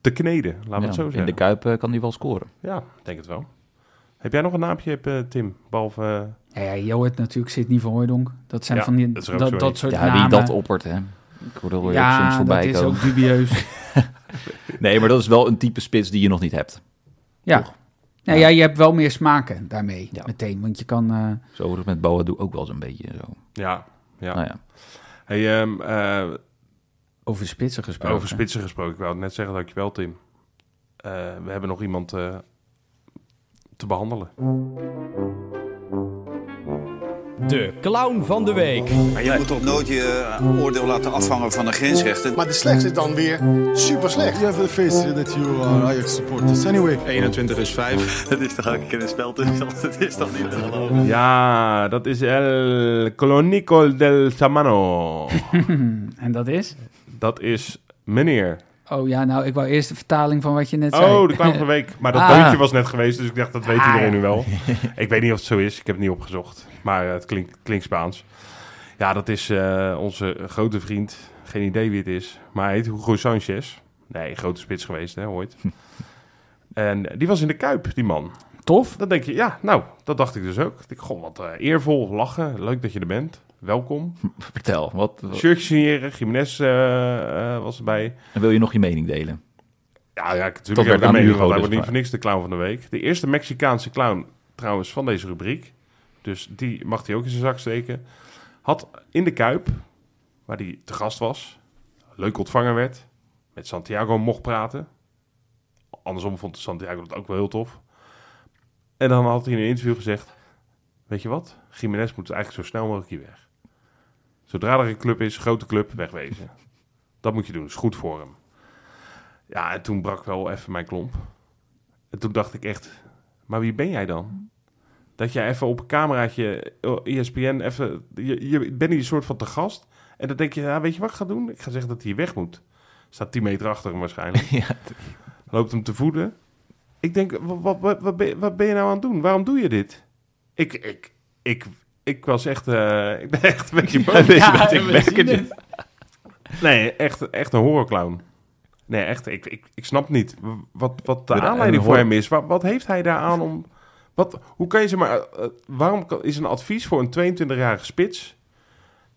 Speaker 3: te kneden. Laat
Speaker 4: Ja,
Speaker 3: me het zo
Speaker 4: in de
Speaker 3: zeggen.
Speaker 4: Kuip eh, kan hij wel scoren.
Speaker 3: Ja, ik denk het wel. Heb jij nog een naampje, eh, Tim? Behalve... eh,
Speaker 2: ja, ja, je hoort natuurlijk Sidney van Hooijdonk. Dat zijn
Speaker 3: Ja,
Speaker 2: van die,
Speaker 3: dat is er ook
Speaker 2: dat,
Speaker 3: zo
Speaker 2: dat
Speaker 3: een.
Speaker 2: soort
Speaker 4: ja,
Speaker 2: namen.
Speaker 4: wie dat oppert, hè. Ik hoor dat ja, soms
Speaker 2: ja, dat
Speaker 4: voorbij
Speaker 2: is
Speaker 4: komen.
Speaker 2: ook dubieus.
Speaker 4: Nee, maar dat is wel een type spits die je nog niet hebt.
Speaker 2: ja. Nou ja, je hebt wel meer smaken daarmee
Speaker 4: Ja.
Speaker 2: meteen. Want je kan... eh,
Speaker 4: Zo wordt het met Boadu ook wel eens een beetje zo.
Speaker 3: ja, ja.
Speaker 4: Nou ja,
Speaker 3: Hey, ehm, eh,
Speaker 2: Over spitsen gesproken.
Speaker 3: Over spitsen gesproken, ik wou het net zeggen, dankjewel Tim. Eh, we hebben nog iemand eh, te behandelen.
Speaker 1: De clown van de week.
Speaker 6: Maar je moet toch nooit je eh, oordeel laten afhangen van de grensrechter.
Speaker 7: Maar de slechtste is dan weer super slecht. You have the face that you are eh, Ajax supporters anyway.
Speaker 6: 21 is 5. Dat is toch ook een keer een spel tussen ons? Dat is toch niet te geloven?
Speaker 3: Ja, dat is El Colonico del Samano.
Speaker 2: En dat is?
Speaker 3: dat is meneer.
Speaker 2: Oh ja, nou, ik wou eerst de vertaling van wat je net zei.
Speaker 3: Oh, de clown van de week. Maar dat
Speaker 2: Ah.
Speaker 3: deuntje was net geweest, dus ik dacht, dat weet
Speaker 2: Ah,
Speaker 3: iedereen
Speaker 2: ja.
Speaker 3: nu wel. ik weet niet of het zo is, ik heb het niet opgezocht. Maar eh, het klinkt, klinkt Spaans. Ja, dat is eh, onze grote vriend. Geen idee wie het is, maar hij heet Hugo Sanchez. Nee, grote spits geweest, hè, ooit. en die was in de Kuip, die man.
Speaker 2: Tof.
Speaker 3: Dan denk je, ja, nou, dat dacht ik dus ook. Ik denk, goh, wat eh, eervol, lachen, leuk dat je er bent. Welkom.
Speaker 4: vertel. Wat, wat-
Speaker 3: Shirtje signeren, Jiménez eh, eh, was erbij.
Speaker 4: wil je nog je mening delen?
Speaker 3: Ja, ja, ik
Speaker 4: Dat
Speaker 3: natuurlijk
Speaker 4: werd
Speaker 3: heb ik
Speaker 4: aan
Speaker 3: mening,
Speaker 4: Hugo
Speaker 3: want hij wordt
Speaker 4: dus
Speaker 3: niet
Speaker 4: maar.
Speaker 3: voor niks de clown van de week. De eerste Mexicaanse clown, trouwens, van deze rubriek. Dus die mag hij ook in zijn zak steken. Had in de Kuip, waar hij te gast was, leuk ontvangen werd. Met Santiago mocht praten. Andersom vond Santiago dat ook wel heel tof. En dan had hij in een interview gezegd... Weet je wat? Jiménez moet eigenlijk zo snel mogelijk hier weg. Zodra er een club is, grote club, wegwezen. Dat moet je doen, is goed voor hem. Ja, en toen brak wel even mijn klomp. En toen dacht ik echt, maar wie ben jij dan? Dat jij even op een cameraatje, eh, ESPN, even... Je, je bent hier een soort van te gast. En dan denk je, ja, weet je wat ik ga doen? Ik ga zeggen dat hij weg moet. Staat 10 meter achter hem waarschijnlijk.
Speaker 4: Ja.
Speaker 3: Loopt hem te voeden. Ik denk, wat, wat, wat, wat, ben, je- wat ben je nou aan het doen? Waarom doe je dit? Ik, ik, ik, ik was echt... eh, ik ben echt een beetje boos.
Speaker 2: Ja,
Speaker 3: ik
Speaker 2: we
Speaker 3: merk
Speaker 2: zien
Speaker 3: het. Nee, echt, echt een horrorclown. Nee, echt, ik, ik, ik snap niet wat, wat de
Speaker 4: Een-
Speaker 3: aanleiding
Speaker 4: een
Speaker 3: voor
Speaker 4: horror-
Speaker 3: hem is. Wat, wat heeft hij daaraan om... Wat, hoe kan je ze maar... eh, eh, waarom kan- is een advies voor een 22-jarige spits...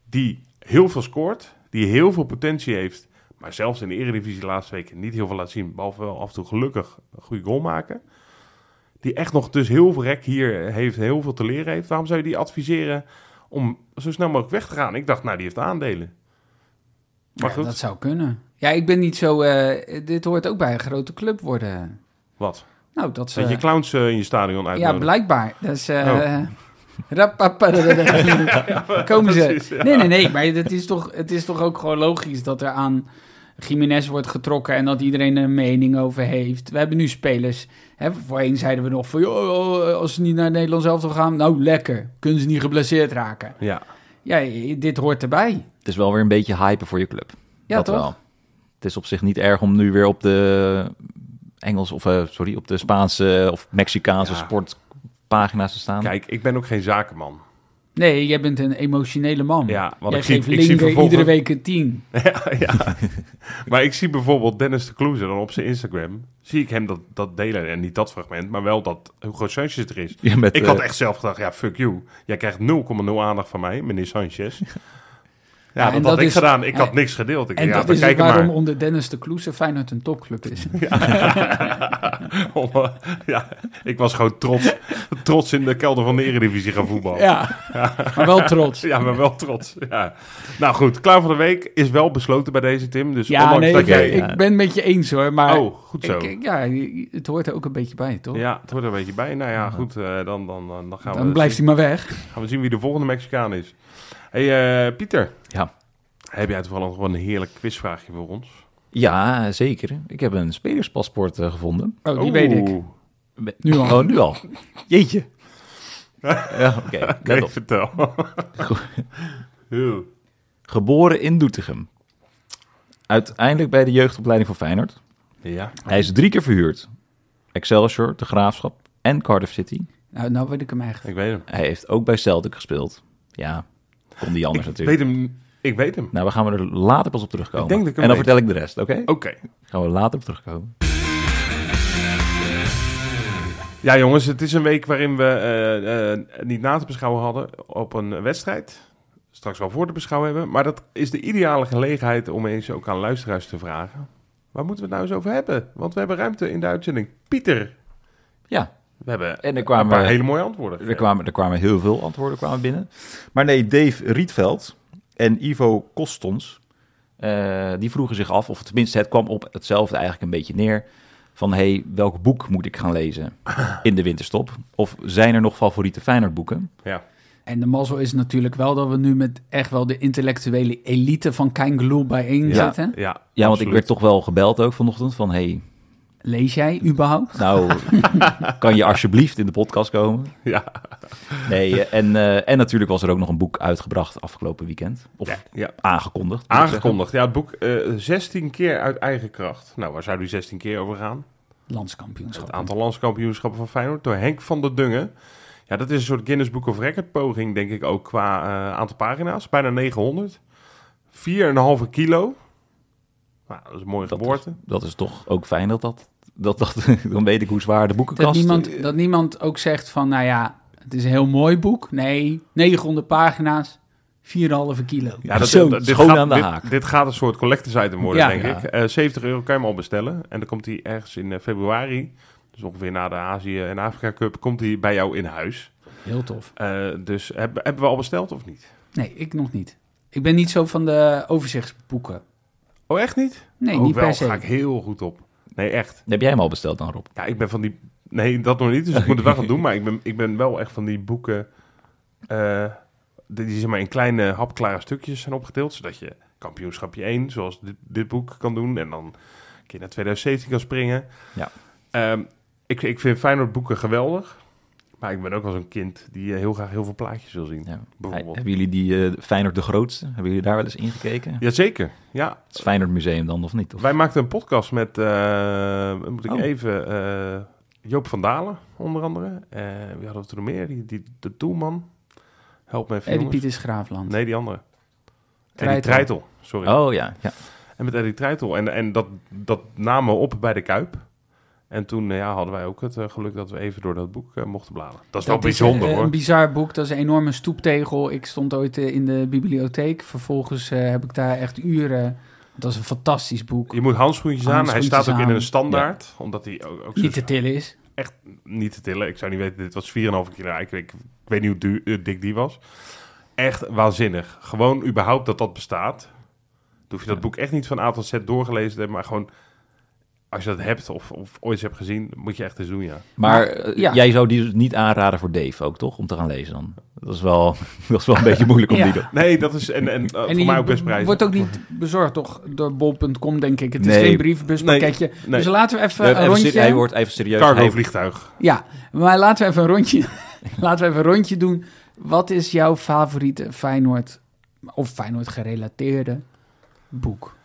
Speaker 3: die heel veel scoort, die heel veel potentie heeft... maar zelfs in de Eredivisie de laatste weken niet heel veel laat zien... behalve wel af en toe gelukkig een goede goal maken... die echt nog dus heel veel rek hier heeft, heel veel te leren heeft... waarom zou je die adviseren om zo snel mogelijk weg te gaan? Ik dacht, nou, die heeft aandelen. Maar
Speaker 2: Ja,
Speaker 3: goed,
Speaker 2: dat zou kunnen. Ja, ik ben niet zo... eh, dit hoort ook bij een grote club worden.
Speaker 3: wat?
Speaker 2: Nou, dat is...
Speaker 3: Zet je
Speaker 2: eh,
Speaker 3: clowns eh, in je stadion uit.
Speaker 2: ja, blijkbaar. Dat is... eh,
Speaker 3: Oh.
Speaker 2: rapapadadada. Komen
Speaker 3: precies,
Speaker 2: ze.
Speaker 3: ja.
Speaker 2: Nee, nee, nee. Maar het is, toch, het is toch ook gewoon logisch dat er aan Jiménez wordt getrokken... en dat iedereen er een mening over heeft. We hebben nu spelers... Hè, voorheen zeiden we nog van... joh, joh, als ze niet naar Nederland zelf gaan... nou, lekker. Kunnen ze niet geblesseerd raken.
Speaker 3: Ja.
Speaker 2: Ja, dit hoort erbij.
Speaker 4: Het is wel weer een beetje hype voor je club.
Speaker 2: Ja,
Speaker 4: dat
Speaker 2: toch?
Speaker 4: wel. Het is op zich niet erg om nu weer op de Engels of eh, sorry, op de Spaanse of Mexicaanse
Speaker 3: Ja.
Speaker 4: sportpagina's te staan.
Speaker 3: Kijk, ik ben ook geen zakenman.
Speaker 2: Nee, jij bent een emotionele man.
Speaker 3: Ja, want
Speaker 2: jij
Speaker 3: ik zie-
Speaker 2: geeft
Speaker 3: ik zie
Speaker 2: Linger
Speaker 3: vervolgens-
Speaker 2: iedere week een 10.
Speaker 3: ja, ja. maar ik zie bijvoorbeeld Dennis de Kloeze dan op zijn Instagram. Zie ik hem dat, dat delen. En niet dat fragment, maar wel dat hoe groot Sanchez er is.
Speaker 5: Ja, met,
Speaker 3: ik had
Speaker 5: eh,
Speaker 3: echt zelf gedacht, ja, fuck you. Jij krijgt 0,0 aandacht van mij, meneer Sanchez. Ja,
Speaker 2: en
Speaker 3: dat had
Speaker 2: dat
Speaker 3: ik
Speaker 2: is-
Speaker 3: gedaan. Ik
Speaker 2: en-
Speaker 3: had niks gedeeld. Ik,
Speaker 2: En
Speaker 3: dacht, ja,
Speaker 2: dat
Speaker 3: dan
Speaker 2: is ook
Speaker 3: kijk maar.
Speaker 2: waarom onder Dennis de Kloes Feyenoord een topclub is.
Speaker 3: Om, eh, ja, ik was gewoon trots, trots in de kelder van de Eredivisie gaan voetballen.
Speaker 2: ja, maar wel trots.
Speaker 3: Ja, maar wel trots. Ja. Nou goed, klaar van de week is wel besloten bij deze Tim. Dus
Speaker 2: Ja,
Speaker 3: ondanks
Speaker 2: nee,
Speaker 3: dat
Speaker 2: ik,
Speaker 3: jij...
Speaker 2: ik ben met je eens hoor, maar...
Speaker 3: Oh, goed zo.
Speaker 2: Ik- ik- ja, het hoort er ook een beetje bij, toch?
Speaker 3: Ja, het hoort er een beetje bij. Nou ja, goed, eh, dan, dan, dan, dan gaan,
Speaker 2: Dan
Speaker 3: we
Speaker 2: blijft hij
Speaker 3: zien,
Speaker 2: maar weg.
Speaker 3: gaan we zien wie de volgende Mexicaan is. hey, eh, Pieter.
Speaker 4: Ja.
Speaker 3: Heb jij toevallig nog wel een heerlijk quizvraagje voor ons?
Speaker 4: Ja, zeker. Ik heb een spelerspaspoort eh, gevonden.
Speaker 2: Oh, die weet ik.
Speaker 3: Oeh.
Speaker 2: Nu al.
Speaker 4: Oh, nu al. Jeetje. ja, oké.
Speaker 3: Oké,
Speaker 4: Let op.
Speaker 3: vertel. Oeh.
Speaker 4: Geboren in Doetinchem. Uiteindelijk bij de jeugdopleiding van Feyenoord.
Speaker 3: ja.
Speaker 4: Hij is drie keer verhuurd. Excelsior, De Graafschap en Cardiff City.
Speaker 2: Nou, nou weet ik hem eigenlijk.
Speaker 3: Ik weet hem.
Speaker 4: Hij heeft ook bij Celtic gespeeld. Ja, kon die anders
Speaker 3: Ik
Speaker 4: natuurlijk.
Speaker 3: weet hem. Ik weet hem.
Speaker 4: Nou, we gaan er later pas op terugkomen.
Speaker 3: Ik denk dat ik hem
Speaker 4: en dan
Speaker 3: weet.
Speaker 4: vertel ik de rest, oké?
Speaker 3: Oké.
Speaker 4: Gaan we later op terugkomen.
Speaker 3: Ja, jongens, het is een week waarin we eh, eh, niet na te beschouwen hadden op een wedstrijd. Straks wel voor te beschouwen hebben. Maar dat is de ideale gelegenheid om eens ook aan luisteraars te vragen. Waar moeten we het nou eens over hebben? Want we hebben ruimte in de uitzending. Pieter,
Speaker 4: Ja,
Speaker 3: we hebben
Speaker 4: en er
Speaker 3: een paar
Speaker 4: kwamen,
Speaker 3: hele mooie antwoorden.
Speaker 4: er, kwamen, er kwamen heel veel antwoorden kwamen binnen.
Speaker 5: Maar nee, Dave Rietveld en Ivo Kostons.
Speaker 4: Eh, die vroegen zich af, of tenminste het kwam op hetzelfde eigenlijk een beetje neer. Van, hé, hey, welk boek moet ik gaan lezen in de winterstop? Of zijn er nog favoriete Feyenoordboeken?
Speaker 2: En de mazzel is natuurlijk wel dat we nu met echt wel de intellectuele elite van Kangaloo bijeen
Speaker 4: Ja.
Speaker 2: zitten.
Speaker 3: Ja,
Speaker 4: Ja, want ik
Speaker 3: absoluut.
Speaker 4: werd toch wel gebeld ook vanochtend van, hé, hey,
Speaker 2: Lees jij überhaupt?
Speaker 4: nou, kan je alsjeblieft in de podcast komen?
Speaker 3: Ja,
Speaker 4: Nee, eh, en, eh, en natuurlijk was er ook nog een boek uitgebracht afgelopen weekend. Of
Speaker 3: ja, ja.
Speaker 4: aangekondigd. moet ik
Speaker 3: Aangekondigd. Ja, het boek eh 16 keer uit eigen kracht. Nou, waar zou die 16 keer over gaan?
Speaker 2: Landskampioenschap.
Speaker 3: Het aantal landskampioenschappen van Feyenoord door Henk van der Dungen. Ja, dat is een soort Guinness Book of Record poging, denk ik ook, qua eh, aantal pagina's. Bijna 900. 4,5 kilo. Nou, dat is een mooie
Speaker 4: Dat
Speaker 3: geboorte.
Speaker 4: zeggen. Dat is toch ook fijn dat dat... dat, dat dan weet ik hoe zwaar de boekenkast...
Speaker 2: Dat niemand, dat niemand ook zegt van, nou ja, het is een heel mooi boek. Nee, 900 pagina's, 4,5 kilo.
Speaker 3: Ja, dat,
Speaker 4: Zo,
Speaker 3: dit,
Speaker 4: schoon
Speaker 3: gaat,
Speaker 4: aan de
Speaker 3: dit-
Speaker 4: haak.
Speaker 3: Dit, gaat een soort collectors item worden,
Speaker 2: Ja.
Speaker 3: denk
Speaker 4: Ja.
Speaker 3: ik. Eh, 70 euro kan je hem al bestellen. En dan komt hij ergens in eh, februari, dus ongeveer na de Azië en Afrika Cup, komt hij bij jou in huis.
Speaker 2: Heel tof.
Speaker 3: Eh, dus hebben, hebben we al besteld of niet?
Speaker 2: Nee, ik nog niet. Ik ben niet zo van de overzichtsboeken.
Speaker 3: Oh, echt niet?
Speaker 2: Nee,
Speaker 3: Ook
Speaker 2: niet
Speaker 3: wel,
Speaker 2: per se.
Speaker 3: ga ik heel goed op. Nee, echt.
Speaker 4: Heb jij hem al besteld dan, Rob?
Speaker 3: Ja, ik ben van die... Nee, dat nog niet, dus ik moet het wel gaan doen. Maar ik ben, ik ben wel echt van die boeken... eh, die, die zeg maar in kleine hapklare stukjes zijn opgedeeld. Zodat je kampioenschapje 1, zoals dit, dit boek kan doen. En dan een keer naar 2017 kan springen.
Speaker 4: Ja.
Speaker 3: Ehm, ik, ik vind Feyenoord boeken geweldig. Maar ik ben ook wel zo'n kind die eh, heel graag heel veel plaatjes wil zien.
Speaker 4: Ja.
Speaker 3: Bijvoorbeeld.
Speaker 4: Hebben jullie die eh Feyenoord de Grootste? Hebben jullie daar wel eens ingekeken?
Speaker 3: Jazeker, ja.
Speaker 4: Het Feyenoord Museum dan, of niet? Of?
Speaker 3: Wij maakten een podcast met, eh, moet ik
Speaker 4: Oh.
Speaker 3: even, eh, Joop van Dalen onder andere. Eh wie hadden we toen nog meer? Die, die, de doelman. Help me even,
Speaker 2: Eddie
Speaker 3: jongens.
Speaker 2: Pieter Schraafland.
Speaker 3: Nee, die andere. Eddie
Speaker 2: Treitel.
Speaker 3: Treitel, sorry.
Speaker 4: Oh ja, ja.
Speaker 3: En met Eddie Treitel. En, en dat, dat namen we op bij de Kuip. En toen eh, ja, hadden wij ook het eh, geluk dat we even door dat boek eh, mochten bladeren. Dat is wel bijzonder
Speaker 2: eh, een,
Speaker 3: hoor.
Speaker 2: Een bizar boek, dat is een enorme stoeptegel. Ik stond ooit eh, in de bibliotheek. Vervolgens eh, heb ik daar echt uren... Dat is een fantastisch boek.
Speaker 3: Je moet handschoentjes aan. Hij
Speaker 2: Handschoentjes
Speaker 3: staat ook in
Speaker 2: aan.
Speaker 3: een standaard. Omdat hij ook, ook zo
Speaker 2: Niet te tillen
Speaker 3: Eh,
Speaker 2: is.
Speaker 3: niet te tillen. Ik zou niet weten, dit was 4,5 kilo. Ik, ik, ik weet niet hoe du- eh, dik die was. Echt waanzinnig. Gewoon überhaupt dat dat bestaat. Dan hoef je dat boek echt niet van A tot Z doorgelezen te hebben. Maar gewoon, als je dat hebt of, of ooit eens hebt gezien, moet je echt eens doen, ja.
Speaker 4: Maar eh,
Speaker 2: ja.
Speaker 4: jij zou die dus niet aanraden voor Dave ook, toch? Om te gaan lezen dan. Dat is wel, dat is wel een beetje moeilijk om
Speaker 2: Ja.
Speaker 4: die te...
Speaker 3: Nee, dat is en, en, eh,
Speaker 2: En
Speaker 3: voor
Speaker 2: die
Speaker 3: mij ook best
Speaker 2: b-
Speaker 3: prijzig.
Speaker 2: wordt ook niet bezorgd toch, door bol.com, denk ik. Het is
Speaker 4: Nee.
Speaker 2: geen brievenbuspakketje.
Speaker 3: nee.
Speaker 2: Dus laten we even
Speaker 4: Even
Speaker 2: een
Speaker 4: ser-
Speaker 2: rondje...
Speaker 4: hij wordt even serieus.
Speaker 3: Cargo
Speaker 4: Hij-
Speaker 3: vliegtuig.
Speaker 2: Ja, maar laten we even een rondje, laten we even een rondje doen. Wat is jouw favoriete Feyenoord, of Feyenoord gerelateerde boek?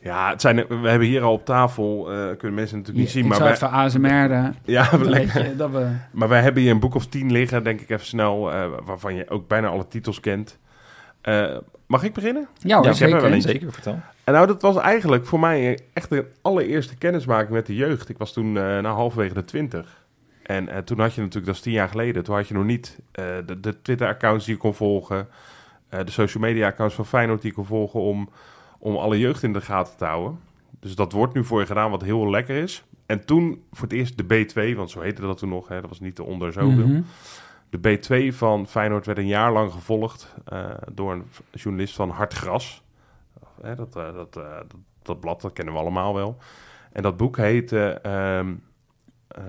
Speaker 3: Ja, het zijn, we hebben hier al op tafel, eh, kunnen mensen natuurlijk niet zien,
Speaker 2: ik
Speaker 3: maar
Speaker 2: zal
Speaker 3: wij,
Speaker 2: even ASMR.
Speaker 3: ja,
Speaker 2: Dat
Speaker 3: lekker.
Speaker 2: weet je, dat we,
Speaker 3: Maar wij hebben hier een boek of tien liggen, denk ik even snel, eh, waarvan je ook bijna alle titels kent. Eh, mag ik beginnen?
Speaker 2: ja, hoor,
Speaker 3: ik heb er wel
Speaker 2: zeker.
Speaker 3: eentje.
Speaker 4: Zeker, vertel.
Speaker 3: En nou, dat was eigenlijk voor mij echt de allereerste kennismaking met de jeugd. Ik was toen eh na halverwege de twintig. En eh, toen had je natuurlijk, dat is tien jaar geleden, toen had je nog niet eh, de, de Twitter-accounts die je kon volgen, eh, de social media-accounts van Feyenoord die je kon volgen om, om alle jeugd in de gaten te houden. Dus dat wordt nu voor je gedaan, wat heel lekker is. En toen voor het eerst de B2, want zo heette dat toen nog, hè, dat was niet de onder zoveel.
Speaker 2: Mhm.
Speaker 3: De B2 van Feyenoord werd een jaar lang gevolgd eh, door een v- journalist van Hard Gras. Hè, dat, eh, dat, eh, dat, dat blad, dat kennen we allemaal wel. En dat boek heette ehm, eh,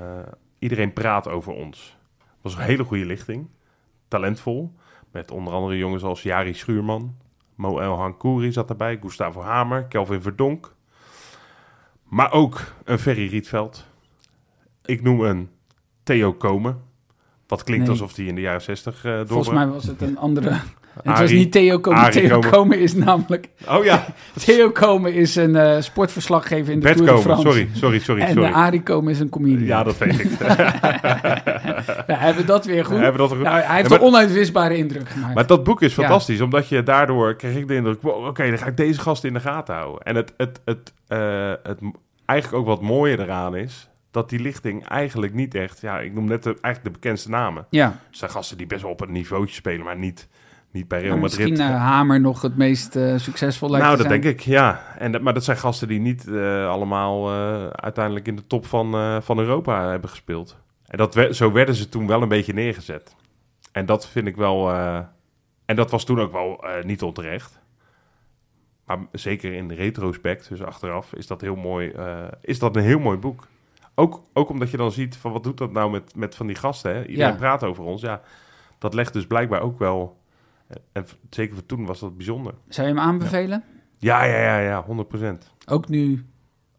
Speaker 3: Iedereen praat over ons. was een hele goede lichting. Talentvol. Met onder andere jongens als Jari Schuurman. Mo El Hankouri zat erbij. Gustavo Hamer. Kelvin Verdonk. Maar ook een Ferry Rietveld. Ik noem een Theo Komen. Wat klinkt
Speaker 2: Nee.
Speaker 3: alsof hij in de jaren 60 eh door...
Speaker 2: Volgens mij was het een andere. het was
Speaker 3: Arie-
Speaker 2: niet Theo Komen.
Speaker 3: Arie
Speaker 2: Theo
Speaker 3: Komen.
Speaker 2: Komen is namelijk.
Speaker 3: Oh ja,
Speaker 2: Theo Komen is een eh, sportverslaggever in de
Speaker 3: Bert
Speaker 2: Tour de
Speaker 3: Komen.
Speaker 2: France.
Speaker 3: Sorry, sorry, sorry.
Speaker 2: en
Speaker 3: sorry.
Speaker 2: eh, Arie Komen is een comedian.
Speaker 3: ja,
Speaker 2: Ja,
Speaker 3: dat weet ik.
Speaker 2: hebben we dat weer goed?
Speaker 3: Hebben we dat er goed?
Speaker 2: Nou, hij heeft
Speaker 3: Ja, maar-
Speaker 2: een onuitwisbare indruk gemaakt.
Speaker 3: Maar dat boek is
Speaker 2: Ja.
Speaker 3: fantastisch, omdat je daardoor kreeg ik de indruk, wow, oké, dan ga ik deze gast in de gaten houden. En het, het, het, eh, het m- eigenlijk ook wat mooier eraan is, dat die lichting eigenlijk niet echt, ja, ik noem net de, eigenlijk de bekendste namen.
Speaker 2: ja,
Speaker 3: Het zijn gasten die best wel op het niveautje spelen, maar niet, niet bij Real
Speaker 2: maar
Speaker 3: Madrid.
Speaker 2: misschien eh, Hamer nog het meest eh, succesvol lijkt
Speaker 3: nou,
Speaker 2: te
Speaker 3: dat
Speaker 2: zijn.
Speaker 3: denk ik, ja. En, dat- maar dat zijn gasten die niet eh, allemaal eh, uiteindelijk in de top van, eh, van Europa hebben gespeeld. En dat we- zo werden ze toen wel een beetje neergezet. En dat vind ik wel. eh, en dat was toen ook wel eh, niet onterecht. Maar zeker in retrospect, dus achteraf, is dat, heel mooi, eh, is dat een heel mooi boek. Ook, ook omdat je dan ziet van wat doet dat nou met, met van die gasten. Hè? Iedereen
Speaker 2: Ja.
Speaker 3: praat over ons. Ja, dat legt dus blijkbaar ook wel. En v- zeker voor toen was dat bijzonder.
Speaker 2: Zou je hem aanbevelen?
Speaker 3: Ja, ja, ja, ja, 100
Speaker 2: Ook nu,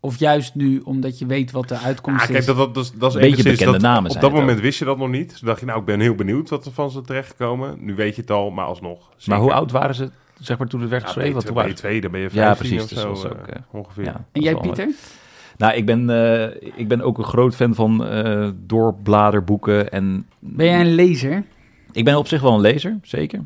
Speaker 2: of juist nu, omdat je weet wat de uitkomst
Speaker 3: Ah, kijk,
Speaker 2: is.
Speaker 3: dat, dat, dat, is- dat is
Speaker 4: Beetje
Speaker 3: enigszins
Speaker 4: bekende
Speaker 3: dat-
Speaker 4: namen
Speaker 3: Op
Speaker 4: zijn
Speaker 3: dat
Speaker 4: het
Speaker 3: moment wist je dat nog niet. Toen dacht je, nou, ik ben heel benieuwd wat er van ze terechtkomen. Nu weet je het al, maar alsnog.
Speaker 4: Maar
Speaker 3: zeker.
Speaker 4: hoe oud waren ze, zeg maar, toen het werd
Speaker 3: Ja,
Speaker 4: geschreven? Want
Speaker 3: B2,
Speaker 4: toen waren ze-
Speaker 3: B2, dan ben je 15
Speaker 4: Ja, precies,
Speaker 3: of
Speaker 4: dus
Speaker 3: zo,
Speaker 4: dat is
Speaker 3: eh,
Speaker 4: ook, eh,
Speaker 3: ongeveer.
Speaker 4: ja,
Speaker 3: Ja.
Speaker 4: dat
Speaker 2: en
Speaker 4: is
Speaker 2: jij,
Speaker 4: wel leuk.
Speaker 2: Pieter?
Speaker 4: Nou, ik ben, eh, ik ben ook een groot fan van eh, doorbladerboeken. En
Speaker 2: Ben jij een lezer?
Speaker 4: Ik ben op zich wel een lezer, zeker.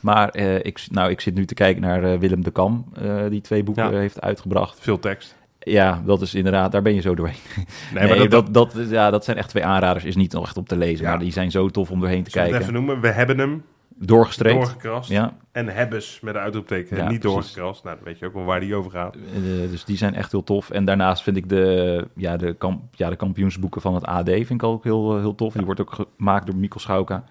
Speaker 4: Maar eh, ik, nou, ik zit nu te kijken naar eh, Willem de Kam, eh, die twee boeken
Speaker 3: Ja.
Speaker 4: heeft uitgebracht.
Speaker 3: Veel tekst.
Speaker 4: Ja, dat is inderdaad, daar ben je zo doorheen.
Speaker 3: Nee,
Speaker 4: Nee,
Speaker 3: maar dat, dat,
Speaker 4: dat, dat, ja, dat zijn echt twee aanraders, is niet nog echt op te lezen.
Speaker 3: Ja.
Speaker 4: Maar die zijn zo tof om doorheen te
Speaker 3: zullen we het
Speaker 4: kijken.
Speaker 3: even noemen. We hebben hem
Speaker 4: Doorgestreept.
Speaker 3: doorgekrast.
Speaker 4: Ja,
Speaker 3: En hebbes met een uitroepteken.
Speaker 4: Ja,
Speaker 3: niet
Speaker 4: precies.
Speaker 3: doorgekrast. Nou, dan weet je ook wel waar die over gaat.
Speaker 4: eh, dus die zijn echt heel tof. En daarnaast vind ik de, ja, de, kamp, ja, de kampioensboeken van het AD vind ik ook heel, eh, heel tof. Die wordt ook gemaakt door Mikkel Schauka.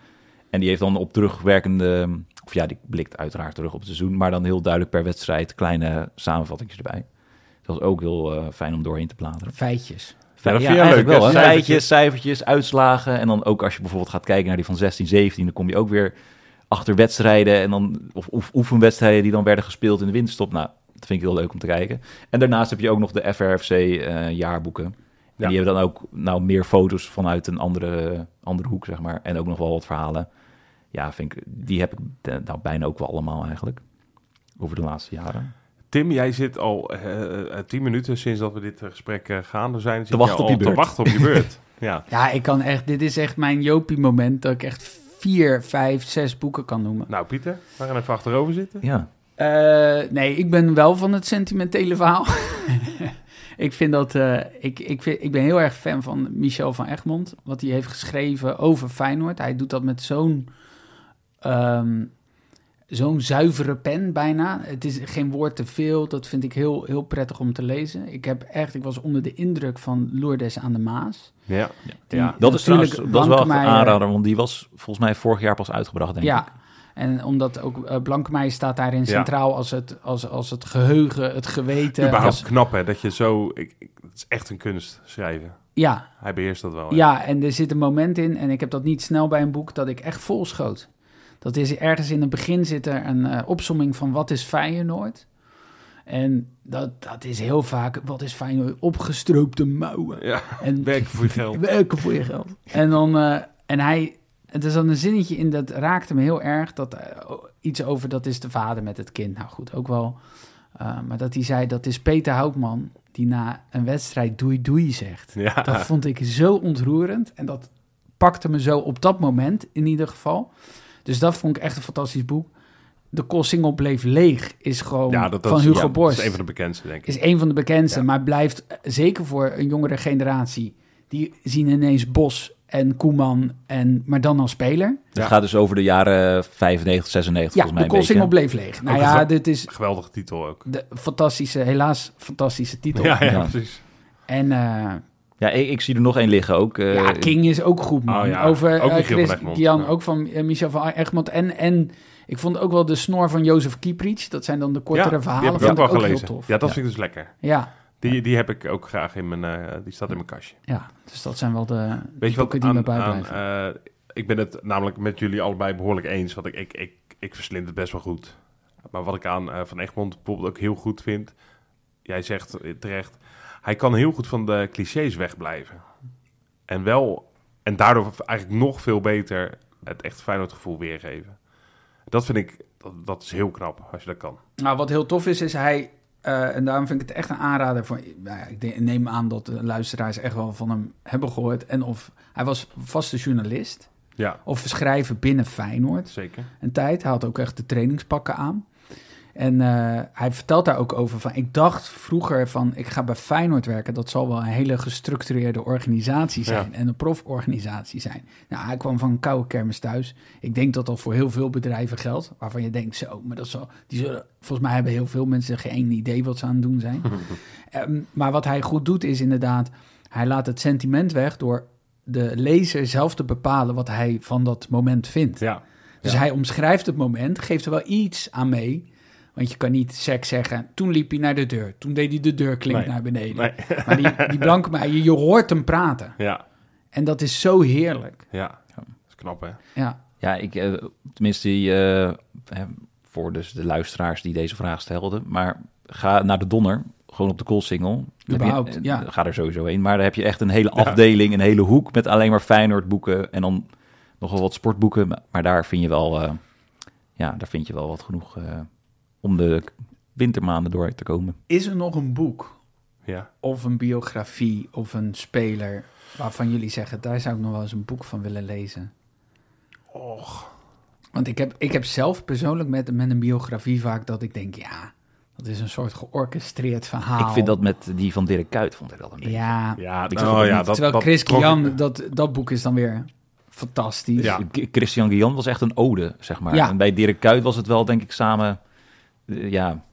Speaker 4: En die heeft dan op terugwerkende, of ja, die blikt uiteraard terug op het seizoen, maar dan heel duidelijk per wedstrijd kleine samenvattingen erbij. Dat is ook heel eh, fijn om doorheen te bladeren.
Speaker 2: Feitjes.
Speaker 3: Ja, dat
Speaker 4: Ja,
Speaker 3: vind jij
Speaker 4: eigenlijk
Speaker 3: leuk,
Speaker 4: wel.
Speaker 3: hè?
Speaker 4: Hè?
Speaker 3: Cijfertjes.
Speaker 4: Rijtjes, cijfertjes, uitslagen. En dan ook als je bijvoorbeeld gaat kijken naar die van 16, 17, dan kom je ook weer achter wedstrijden en dan, of oef- oefenwedstrijden die dan werden gespeeld in de winterstop. Nou, dat vind ik heel leuk om te kijken. En daarnaast heb je ook nog de FRFC eh, jaarboeken. En
Speaker 3: Ja.
Speaker 4: die hebben dan ook nou, meer foto's vanuit een andere, andere hoek, zeg maar. En ook nog wel wat verhalen. Ja, vind ik, die heb ik eh, nou, bijna ook wel allemaal eigenlijk. Over de laatste jaren.
Speaker 3: Tim, jij zit al eh, eh, tien minuten sinds dat we dit eh, gesprek eh, gaande zijn. zit
Speaker 4: wachten
Speaker 3: jij
Speaker 4: op je
Speaker 3: al
Speaker 4: beurt.
Speaker 3: Te wachten op je beurt. ja.
Speaker 2: Ja, ik kan echt, dit is echt mijn Jopie-moment dat ik echt vier, vijf, zes boeken kan noemen.
Speaker 3: Nou, Pieter, we gaan even achterover zitten.
Speaker 4: Ja,
Speaker 2: Eh, nee, ik ben wel van het sentimentele verhaal. ik vind dat, eh, ik, ik, vind, ik ben heel erg fan van Michel van Egmond, wat hij heeft geschreven over Feyenoord. Hij doet dat met zo'n, ehm, zo'n zuivere pen bijna. Het is geen woord te veel, dat vind ik heel, heel prettig om te lezen. Ik heb echt, ik was onder de indruk van Lourdes aan de Maas.
Speaker 3: Ja.
Speaker 2: Die
Speaker 3: Ja,
Speaker 4: dat is trouwens
Speaker 2: natuurlijk
Speaker 4: dat is wel echt een
Speaker 2: Blankenmeijer-
Speaker 4: aanrader, want die was volgens mij vorig jaar pas uitgebracht, denk ik.
Speaker 2: Ja, en omdat ook eh Blankmeijer staat daarin
Speaker 3: Ja.
Speaker 2: centraal als, het, als, als het geheugen, het geweten. Dus,
Speaker 3: Überhaupt
Speaker 2: als-
Speaker 3: knap, hè? Dat je zo... Ik, ik- het is echt een kunst, schrijven.
Speaker 2: ja,
Speaker 3: Hij beheerst dat wel. hè?
Speaker 2: ja, en er zit een moment in, en ik heb dat niet snel bij een boek, dat ik echt vol schoot. Dat is ergens in het begin zit er een eh, opsomming van wat is Feyenoord. En dat, dat is heel vaak, wat is Feyenoord? Opgestroopte mouwen.
Speaker 3: Ja,
Speaker 2: En
Speaker 3: werken voor je geld.
Speaker 2: Werken voor je geld. En dan, eh, en hij, het is dan een zinnetje in dat raakte me heel erg. Dat eh, o- iets over dat is de vader met het kind. Nou goed, ook wel. eh, Uh, maar dat hij zei, dat is Peter Houtman die na een wedstrijd doei doei zegt.
Speaker 3: Ja.
Speaker 2: Dat vond ik zo ontroerend. En dat pakte me zo op dat moment in ieder geval. Dus dat vond ik echt een fantastisch boek. De single bleef leeg is gewoon
Speaker 3: Ja, dat, dat
Speaker 2: van
Speaker 3: is-
Speaker 2: Hugo
Speaker 3: ja,
Speaker 2: Borst.
Speaker 3: Dat is een van de bekendste, denk ik.
Speaker 2: Is een van de bekendste,
Speaker 3: Ja.
Speaker 2: maar blijft eh, zeker voor een jongere generatie. Die zien ineens Bos en Koeman, en, maar dan als speler.
Speaker 4: Het gaat dus over de jaren 95, 96
Speaker 2: Ja,
Speaker 4: volgens
Speaker 2: de
Speaker 4: mij een
Speaker 2: koolsingel
Speaker 4: beetje.
Speaker 2: bleef leeg. Nou
Speaker 3: Ook
Speaker 2: ja,
Speaker 3: gezellig.
Speaker 2: dit is
Speaker 3: Geweldige titel ook.
Speaker 2: de fantastische, helaas fantastische titel.
Speaker 3: Ja, ja,
Speaker 4: Ja.
Speaker 3: precies.
Speaker 2: En eh,
Speaker 4: Ja, ik, ik zie er nog één liggen ook. eh,
Speaker 2: ja, King is ook goed, man.
Speaker 3: Oh ja,
Speaker 2: Over
Speaker 3: ook
Speaker 2: eh,
Speaker 3: Michiel
Speaker 2: Chris
Speaker 3: van Egmond.
Speaker 2: Kian,
Speaker 3: Ja.
Speaker 2: ook van eh, Michel van Egmond. En, en ik vond ook wel de snor van Jozef Kieprits. Dat zijn dan de kortere
Speaker 3: ja,
Speaker 2: verhalen.
Speaker 3: Die heb ik
Speaker 2: vond
Speaker 3: ook wel
Speaker 2: heel
Speaker 3: gelezen.
Speaker 2: tof.
Speaker 3: Ja, dat vind ik dus lekker.
Speaker 2: ja,
Speaker 3: Die, die heb ik ook graag in mijn... eh, die staat in mijn kastje.
Speaker 2: ja, dus dat zijn wel de
Speaker 3: Weet je wat
Speaker 2: boeken die me
Speaker 3: aan, aan,
Speaker 2: bijblijven.
Speaker 3: eh, ik ben het namelijk met jullie allebei behoorlijk eens. Want ik, ik, ik, ik verslind het best wel goed. Maar wat ik aan eh, Van Egmond bijvoorbeeld ook heel goed vind... Jij zegt eh, terecht... Hij kan heel goed van de clichés wegblijven. En wel... En daardoor eigenlijk nog veel beter het echt Feyenoord-gevoel weergeven. Dat vind ik... Dat, dat is heel knap, als je dat kan.
Speaker 2: Nou, wat heel tof is, is hij... eh, en daarom vind ik het echt een aanrader. Voor, nou ja, ik denk- neem aan dat de luisteraars echt wel van hem hebben gehoord. En of hij was vaste journalist
Speaker 3: Ja,
Speaker 2: of schrijver binnen Feyenoord.
Speaker 3: zeker.
Speaker 2: een tijd. Hij had ook echt de trainingspakken aan. En eh, hij vertelt daar ook over van... ik dacht vroeger van, ik ga bij Feyenoord werken... dat zal wel een hele gestructureerde organisatie zijn... en een proforganisatie zijn. Nou, hij kwam van een koude kermis thuis. Ik denk dat dat voor heel veel bedrijven geldt... waarvan je denkt, zo, maar dat zal... Die zullen, volgens mij hebben heel veel mensen geen idee wat ze aan het doen zijn. Ehm, maar wat hij goed doet is inderdaad... hij laat het sentiment weg door de lezer zelf te bepalen... wat hij van dat moment vindt.
Speaker 3: Ja,
Speaker 2: Dus hij omschrijft het moment, geeft er wel iets aan mee. Want je kan niet seks zeggen. Toen liep hij naar de deur. Toen deed hij de deurklink
Speaker 3: Nee.
Speaker 2: naar beneden.
Speaker 3: Nee.
Speaker 2: Maar die, die blanke meid, je, je hoort hem praten.
Speaker 3: ja,
Speaker 2: En dat is zo heerlijk.
Speaker 3: ja. Dat is knap, hè?
Speaker 2: Ja,
Speaker 4: Ja, ik, eh, tenminste, die, eh, hè, voor dus de luisteraars die deze vraag stelden. Maar ga naar de Donner, gewoon op de Koolsingel. Heb
Speaker 2: Überhaupt,
Speaker 4: je, eh,
Speaker 2: ja.
Speaker 4: Ga er sowieso heen. Maar daar heb je echt een hele afdeling, een hele hoek met alleen maar Feyenoord boeken. En dan nogal wat sportboeken. Maar, maar daar vind je wel, eh, ja, daar vind je wel wat genoeg eh, om de wintermaanden door te komen.
Speaker 2: is er nog een boek
Speaker 3: Ja.
Speaker 2: of een biografie of een speler... waarvan jullie zeggen, daar zou ik nog wel eens een boek van willen lezen?
Speaker 3: Och.
Speaker 2: Want ik heb, ik heb zelf persoonlijk met, met een biografie vaak dat ik denk... ja, dat is een soort georchestreerd verhaal.
Speaker 4: Ik vind dat met die van Dirk Kuyt, vond ik dat een beetje.
Speaker 2: Ja,
Speaker 3: Ja,
Speaker 4: Ik
Speaker 3: nou
Speaker 4: vond het
Speaker 3: ja,
Speaker 4: niet.
Speaker 3: dat,
Speaker 2: Terwijl
Speaker 3: dat
Speaker 2: Chris
Speaker 3: trok ik-
Speaker 2: Kian, dat, dat boek is dan weer fantastisch.
Speaker 3: Ja.
Speaker 4: Dus K- Christian Guillaume was echt een ode, zeg maar.
Speaker 2: Ja.
Speaker 4: En bij Dirk Kuyt was het wel, denk ik, samen, eh, ja,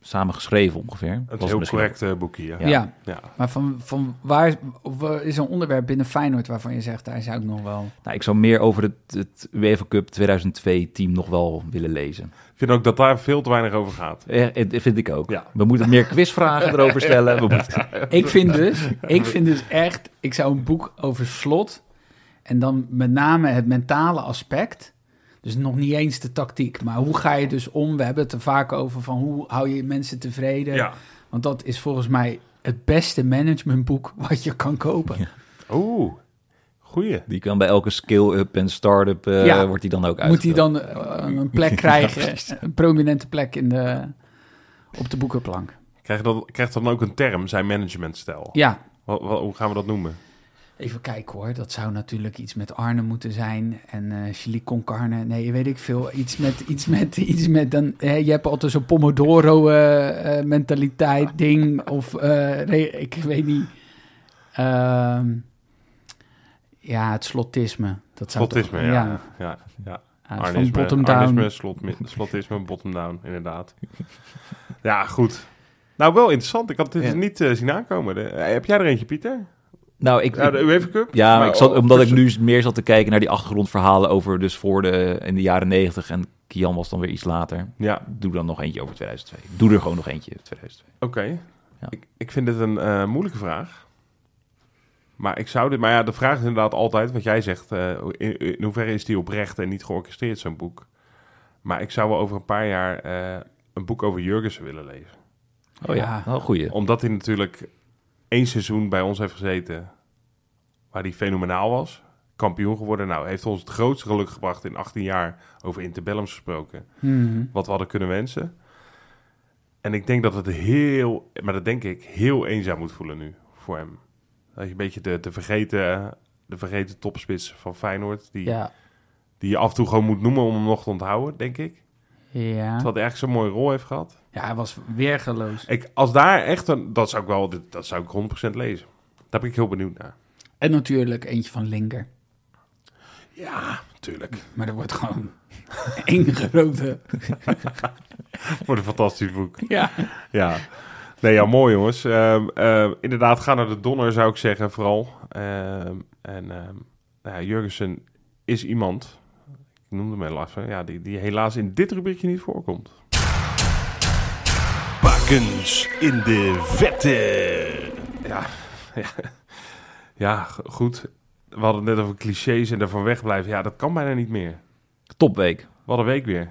Speaker 4: samen geschreven ongeveer.
Speaker 3: Het
Speaker 4: was
Speaker 3: heel
Speaker 4: misschien-
Speaker 3: correct eh, boekje, ja.
Speaker 2: Ja.
Speaker 3: Ja.
Speaker 2: maar van, van waar of, eh, is een onderwerp binnen Feyenoord waarvan je zegt, daar zou ik nog wel...
Speaker 4: Nou, ik zou meer over het, het UEFA Cup 2002-team nog wel willen lezen.
Speaker 3: Ik vind ook dat daar veel te weinig over gaat.
Speaker 4: Eh, eh, Dat vind ik ook.
Speaker 3: Ja.
Speaker 4: We moeten meer quizvragen erover stellen. We moeten...
Speaker 2: Ik vind dus, ik vind dus echt, ik zou een boek over slot en dan met name het mentale aspect... Dus nog niet eens de tactiek, maar hoe ga je dus om? We hebben het er vaak over van hoe hou je mensen tevreden?
Speaker 3: Ja.
Speaker 2: Want dat is volgens mij het beste managementboek wat je kan kopen.
Speaker 3: Oeh, goeie.
Speaker 4: Die kan bij elke skill-up en start-up, eh,
Speaker 2: Ja.
Speaker 4: wordt die dan ook uit.
Speaker 2: Moet hij dan eh, een plek krijgen, een prominente plek in de, op de boekenplank?
Speaker 3: Krijgt dan, krijgt dan ook een term, zijn managementstijl.
Speaker 2: Ja,
Speaker 3: Wa- wa- hoe gaan we dat noemen?
Speaker 2: even kijken hoor. Dat zou natuurlijk iets met Arne moeten zijn en eh chili con carne. Nee, weet ik veel. Iets met, iets met, iets met dan, hè, je hebt altijd zo'n pomodoro eh, eh, mentaliteit ding of eh, nee, ik weet niet. Ehm, ja, het slotisme. Dat zou toch-
Speaker 3: Slotisme, ja. ja. ja,
Speaker 2: ja, van
Speaker 3: Arnisme,
Speaker 2: bottom
Speaker 3: arnisme,
Speaker 2: down.
Speaker 3: slot, slotisme, bottom down, inderdaad. ja, goed. Nou, wel interessant. Ik had dit
Speaker 4: Ja.
Speaker 3: niet eh, zien aankomen. De- eh, heb jij er eentje, Pieter?
Speaker 4: Nou, ik,
Speaker 3: Ja, de UEFA Cup?
Speaker 4: Ja, maar ik zat,
Speaker 3: oh,
Speaker 4: omdat ik
Speaker 3: tussen-
Speaker 4: nu meer zat te kijken naar die achtergrondverhalen over dus voor de, in de jaren 90 en Kian was dan weer iets later.
Speaker 3: Ja,
Speaker 4: Doe dan nog eentje over 2002. Doe er gewoon nog eentje over 2002.
Speaker 3: oké.
Speaker 4: Ja.
Speaker 3: Ik, ik vind dit een eh, moeilijke vraag. Maar ik zou dit... Maar ja, de vraag is inderdaad altijd wat jij zegt. eh, in, in hoeverre is die oprecht en niet georchestreerd, zo'n boek? Maar ik zou wel over een paar jaar eh, een boek over Jurgensen willen lezen.
Speaker 4: Oh ja,
Speaker 2: Ja.
Speaker 4: wel een goeie.
Speaker 3: Omdat hij natuurlijk één seizoen bij ons heeft gezeten waar hij fenomenaal was. Kampioen geworden. Nou, heeft ons het grootste geluk gebracht in 18 jaar over interbellums gesproken.
Speaker 2: Mhm.
Speaker 3: Wat we hadden kunnen wensen. En ik denk dat het heel, maar dat denk ik, heel eenzaam moet voelen nu voor hem. Dat je een beetje de, de, vergeten, de vergeten topspits van Feyenoord, die,
Speaker 2: Ja.
Speaker 3: die je af en toe gewoon moet noemen om hem nog te onthouden, denk ik.
Speaker 2: Ja.
Speaker 3: Terwijl hij echt zo'n mooie rol heeft gehad.
Speaker 2: ja, hij was weergeloos.
Speaker 3: Ik, als daar echt een, dat zou ik wel, dit- dat zou ik 100% lezen. Daar ben ik heel benieuwd naar.
Speaker 2: En natuurlijk eentje van Linker.
Speaker 3: Ja, natuurlijk.
Speaker 2: Maar er wordt gewoon één grote...
Speaker 3: Wordt een fantastisch boek.
Speaker 2: Ja.
Speaker 3: Ja. Nee, ja, mooi jongens. Ehm, ehm, inderdaad, ga naar de donner, zou ik zeggen, vooral. Ehm, en ehm, nou ja, Jurgensen is iemand, ik noemde hem helaas, hè, ja, die, die helaas in dit rubriekje niet voorkomt.
Speaker 6: Bakens in de vette.
Speaker 3: Ja, ja. ja g- goed. We hadden het net over clichés en daarvan wegblijven. Ja, dat kan bijna niet meer.
Speaker 4: Topweek.
Speaker 3: Wat een week weer.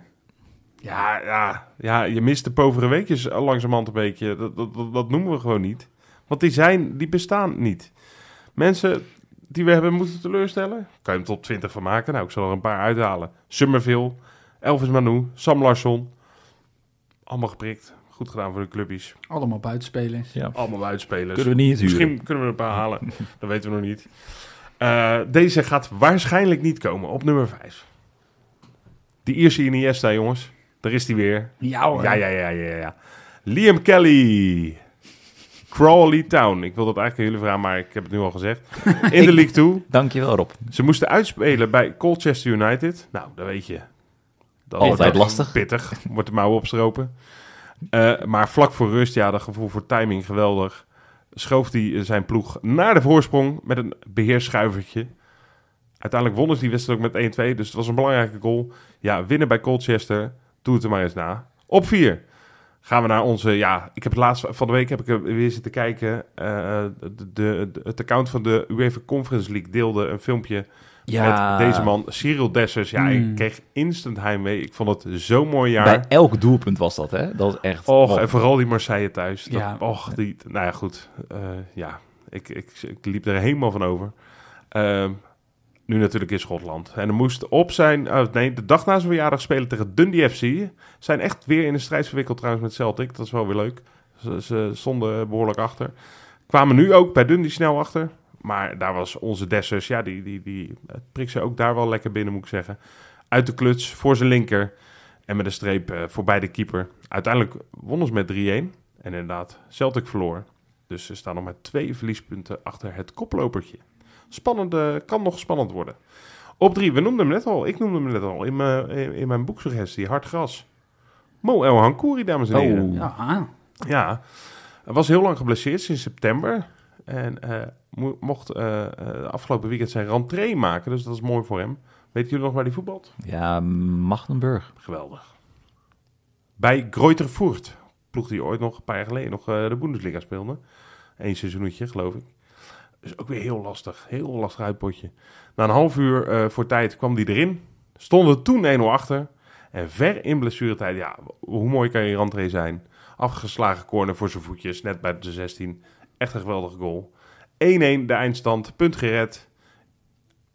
Speaker 3: Ja, ja, ja, je mist de povere weekjes eh, langzamerhand een beetje. Dat, dat, dat, dat noemen we gewoon niet. Want die zijn, die bestaan niet. Mensen die we hebben moeten teleurstellen, kan je hem top 20 van maken? Nou, ik zal er een paar uithalen. Summerville, Elvis Manu, Sam Larsson. Allemaal geprikt. Goed gedaan voor de clubbies.
Speaker 2: Allemaal buitenspelers.
Speaker 3: Allemaal uitspelers.
Speaker 4: Kunnen we niet huren.
Speaker 3: Misschien kunnen we er een paar halen. Dat weten we nog niet. Eh, deze gaat waarschijnlijk niet komen op nummer 5. Die Ierse Iniesta, jongens. Daar is hij weer.
Speaker 2: Ja
Speaker 4: Oh,
Speaker 2: hoor.
Speaker 3: Ja, ja, ja, ja, ja. Liam Kelly. Crawley Town. Ik wil dat eigenlijk aan jullie vragen, maar ik heb het nu al gezegd. In de League 2.
Speaker 4: Dankjewel Rob.
Speaker 3: Ze moesten uitspelen bij Colchester United. Nou, dat weet je. Dat
Speaker 4: Altijd
Speaker 3: wordt dan
Speaker 4: lastig.
Speaker 3: Pittig. Wordt de mouwen opstropen. Eh, maar vlak voor rust, ja, dat gevoel voor timing geweldig. Schoof hij eh, zijn ploeg naar de voorsprong met een beheerschuivertje. Uiteindelijk wonnen ze die wedstrijd ook met 1-2. Dus het was een belangrijke goal. Ja, winnen bij Colchester. Doe het er maar eens na. Op 4 gaan we naar onze... Ja, ik heb het laatst van de week heb ik er weer zitten kijken. Eh, de, de, de- het account van de UEFA Conference League deelde een filmpje
Speaker 4: Ja. Hmm.
Speaker 3: met deze man, Cyril Dessers. Ja,
Speaker 2: Mm.
Speaker 3: ik kreeg instant heimwee. Ik vond het zo'n mooi jaar.
Speaker 4: Bij elk doelpunt was dat, hè? Dat is echt...
Speaker 3: Och,
Speaker 4: Wow.
Speaker 3: en vooral die Marseille thuis. Dat,
Speaker 2: Ja.
Speaker 3: Och, die, nou ja, goed. Eh, ja, ik, ik, ik liep er helemaal van over. Ehm, nu natuurlijk in Schotland. En er moest op zijn... eh, nee, de dag na zijn verjaardag spelen tegen Dundee FC. Zijn echt weer in een strijd verwikkeld trouwens met Celtic. Dat is wel weer leuk. Ze, ze stonden behoorlijk achter. Kwamen nu ook bij Dundee snel achter. Maar daar was onze Dessers... Ja, die, die, die eh, prikt ze ook daar wel lekker binnen, moet ik zeggen. Uit de kluts, voor zijn linker. En met een streep eh, voorbij de keeper. Uiteindelijk wonnen ze met 3-1. En inderdaad, Celtic verloor. Dus ze staan nog met twee verliespunten achter het koplopertje. Spannende, kan nog spannend worden. Op drie, we noemden hem net al. Ik noemde hem net al in mijn, in, in mijn boeksuggestie. Hard gras. Mo El Hankouri, dames en heren.
Speaker 4: Oh.
Speaker 2: Ja. ah.
Speaker 3: Ja, hij was heel lang geblesseerd sinds september. En eh, mo- mocht eh, eh, afgelopen weekend zijn rentree maken. Dus dat is mooi voor hem. Weet jullie nog waar die voetbalt?
Speaker 4: Ja, Magdenburg.
Speaker 3: Geweldig. Bij Greuter Fürth, ploeg die ooit nog een paar jaar geleden nog eh, de Bundesliga speelde. Eén seizoenetje, geloof ik. Dus ook weer heel lastig. Heel lastig uitpotje. Na een half uur eh, voor tijd kwam die erin. Stonden toen 1-0 achter. En ver in blessuretijd, ja, hoe mooi kan je rentree zijn. Afgeslagen corner voor zijn voetjes, net bij de 16. Echt een geweldige goal. 1-1 de eindstand, punt gered.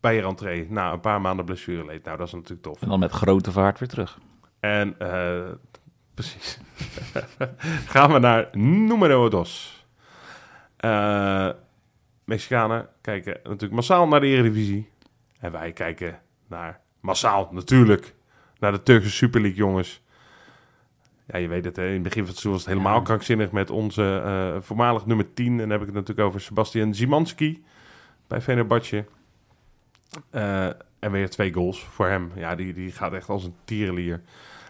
Speaker 3: Bij je rentree, na een paar maanden blessureleed. Nou, dat is natuurlijk tof.
Speaker 4: En dan met grote vaart weer terug.
Speaker 3: En eh, precies. Gaan we naar numero dos. Eh, Mexicanen kijken natuurlijk massaal naar de Eredivisie. En wij kijken naar massaal natuurlijk naar de Turkse Super League, jongens. Ja, je weet het, hè? in het begin van het seizoen was het helemaal krankzinnig met onze eh, voormalig nummer 10. En dan heb ik het natuurlijk over Sebastian Zimanski bij Fenerbahce. Eh, en weer twee goals voor hem. Ja, die, die gaat echt als een tierenlier.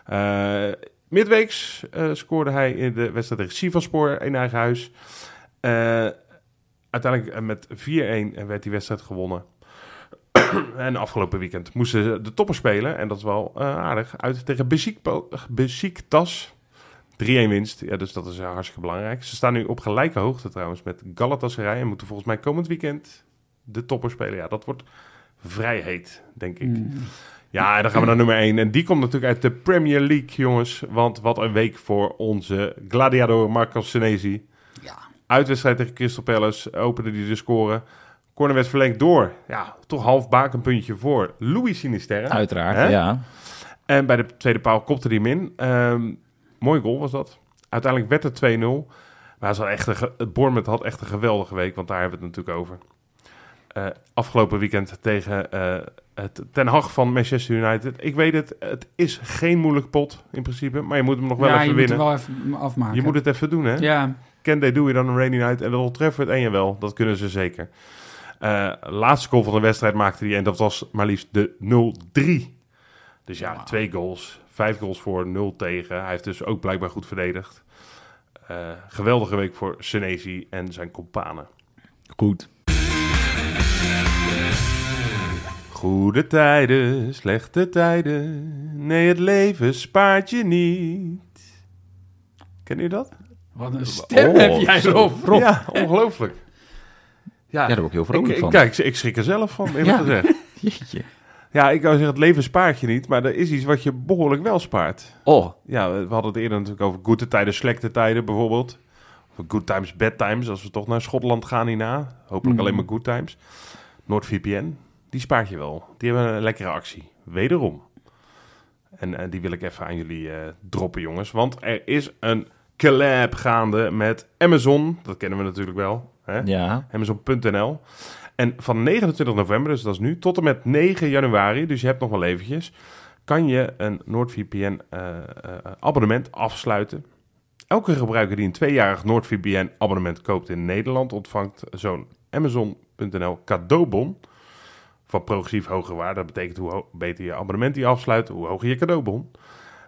Speaker 3: Eh, midweeks eh, scoorde hij in de wedstrijd tegen Sivasspor in eigen huis. Eh, uiteindelijk eh, met 4-1 werd die wedstrijd gewonnen. en afgelopen weekend moesten ze de toppen spelen. En dat is wel eh, aardig. Uit tegen Besikpo- Besiktas. 3-1 winst. Ja, dus dat is eh, hartstikke belangrijk. Ze staan nu op gelijke hoogte trouwens met Galatasaray. En moeten volgens mij komend weekend de toppen spelen. Ja, dat wordt vrij heet, denk ik. Ja, en dan gaan we naar nummer 1. En die komt natuurlijk uit de Premier League, jongens. Want wat een week voor onze gladiador Marco Senesi.
Speaker 2: Ja.
Speaker 3: Uitwedstrijd tegen Crystal Palace opende die de score. Corner werd verlengd door, ja, toch half bakenpuntje voor Louis Sinisterra.
Speaker 4: Uiteraard,
Speaker 3: Hè?
Speaker 4: ja.
Speaker 3: En bij de tweede paal kopte hij hem in. Ehm, mooi goal was dat. Uiteindelijk werd het 2-0. Maar het, was echt een, ge- het Bournemouth had echt een geweldige week, want daar hebben we het natuurlijk over. Eh, afgelopen weekend tegen eh, het Ten Hag van Manchester United. Ik weet het, het is geen moeilijk pot in principe, maar je moet hem nog wel
Speaker 2: ja, je
Speaker 3: even
Speaker 2: moet het
Speaker 3: winnen.
Speaker 2: wel even afmaken.
Speaker 3: Je moet het even doen, hè?
Speaker 2: Ja,
Speaker 3: Can they do it on a rainy night? En Old Trafford, en jawel, dat kunnen ze zeker. Eh, laatste goal van de wedstrijd maakte hij en dat was maar liefst de 0-3. Dus ja, twee goals, vijf goals voor, 0 tegen. Hij heeft dus ook blijkbaar goed verdedigd. Eh, geweldige week voor Senesi en zijn companen.
Speaker 5: Goed.
Speaker 3: Goede tijden, slechte tijden. Nee, het leven spaart je niet. Ken je dat?
Speaker 2: wat een stem
Speaker 4: Oh,
Speaker 2: heb jij,
Speaker 4: zo.
Speaker 2: Rob.
Speaker 3: Ja, ongelooflijk.
Speaker 4: Ja, daar word ik heel vrolijk
Speaker 3: Ik, ik,
Speaker 4: van.
Speaker 3: kijk, ik schrik er zelf van, eerlijk
Speaker 4: Ja.
Speaker 3: gezegd.
Speaker 4: Jeetje.
Speaker 3: Ja, ik zou zeggen, het leven spaart je niet, maar er is iets wat je behoorlijk wel spaart.
Speaker 4: Oh,
Speaker 3: Ja, we hadden het eerder natuurlijk over goede tijden, slechte tijden bijvoorbeeld. Of good times, bad times, als we toch naar Schotland gaan hierna. Hopelijk
Speaker 2: Mm.
Speaker 3: alleen maar good times. NordVPN, die spaart je wel. Die hebben een lekkere actie, wederom. En eh, die wil ik even aan jullie eh, droppen, jongens. Want er is een collab gaande met Amazon. Dat kennen we natuurlijk wel. Hè?
Speaker 4: ja.
Speaker 3: Amazon.nl. En van 29 november, dus dat is nu, tot en met 9 januari, dus je hebt nog wel eventjes, kan je een NordVPN eh, eh, abonnement afsluiten. Elke gebruiker die een tweejarig NordVPN abonnement koopt in Nederland ontvangt zo'n Amazon.nl cadeaubon van progressief hoge waarde. Dat betekent hoe ho- beter je abonnement die je afsluit, hoe hoger je cadeaubon.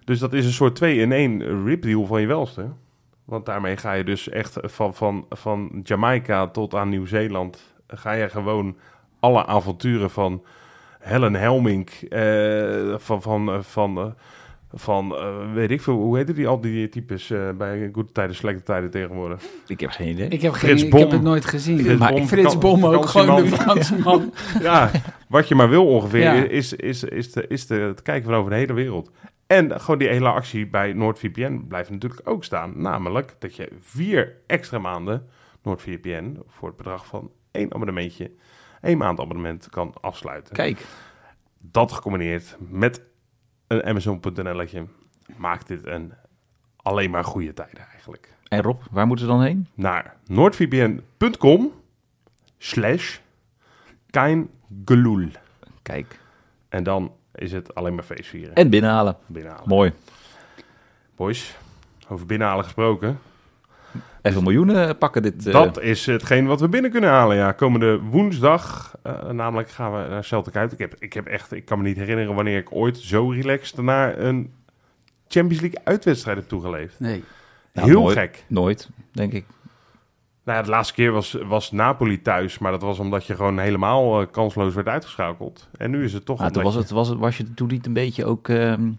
Speaker 3: Dus dat is een soort 2-in-1 ripdeal van je welste. Want daarmee ga je dus echt van, van, van Jamaica tot aan Nieuw-Zeeland... ga je gewoon alle avonturen van Helen Helmink... eh, van, van, eh, van, eh, van eh, weet ik veel, hoe heette die al die types... eh, bij goede tijden, slechte tijden tegenwoordig?
Speaker 4: Ik heb geen idee.
Speaker 2: Ik heb,
Speaker 3: Frits
Speaker 2: geen, ik heb
Speaker 3: Bom.
Speaker 2: het nooit gezien.
Speaker 3: Frits
Speaker 2: maar
Speaker 3: Bom,
Speaker 2: Frits Bom ook
Speaker 3: vakantieman.
Speaker 2: gewoon de vakantieman.
Speaker 3: ja, wat je maar wil ongeveer
Speaker 2: Ja.
Speaker 3: is, is, is, de, is de, het kijken van over de hele wereld. En gewoon die hele actie bij NoordVPN blijft natuurlijk ook staan. Namelijk dat je vier extra maanden NoordVPN voor het bedrag van één abonnementje, één maand abonnement kan afsluiten.
Speaker 4: Kijk.
Speaker 3: Dat gecombineerd met een Amazon.nl-letje maakt dit een alleen maar goede tijden eigenlijk.
Speaker 4: En Rob, waar moeten ze dan heen?
Speaker 3: Naar noordvpn.com slash kein
Speaker 4: Kijk.
Speaker 3: En dan is het alleen maar feestvieren.
Speaker 4: En binnenhalen.
Speaker 3: Binnenhalen.
Speaker 4: Mooi.
Speaker 3: Boys, over binnenhalen gesproken.
Speaker 4: Even miljoenen pakken dit. eh,
Speaker 3: Dat is hetgeen wat we binnen kunnen halen. Ja, komende woensdag, eh, namelijk gaan we naar Celtic uit. Ik, heb, ik, heb echt, ik kan me niet herinneren wanneer ik ooit zo relaxed naar een Champions League uitwedstrijd heb toegeleefd.
Speaker 2: Nee.
Speaker 4: nou,
Speaker 3: Heel
Speaker 4: nooit-
Speaker 3: gek.
Speaker 4: Nooit, denk ik.
Speaker 3: Nou ja, de laatste keer was, was Napoli thuis, maar dat was omdat je gewoon helemaal eh, kansloos werd uitgeschakeld. En nu is het toch
Speaker 4: Maar Ah, toen
Speaker 3: omdat
Speaker 4: was
Speaker 3: je-
Speaker 4: het, was het, was je toen niet een beetje ook. ehm,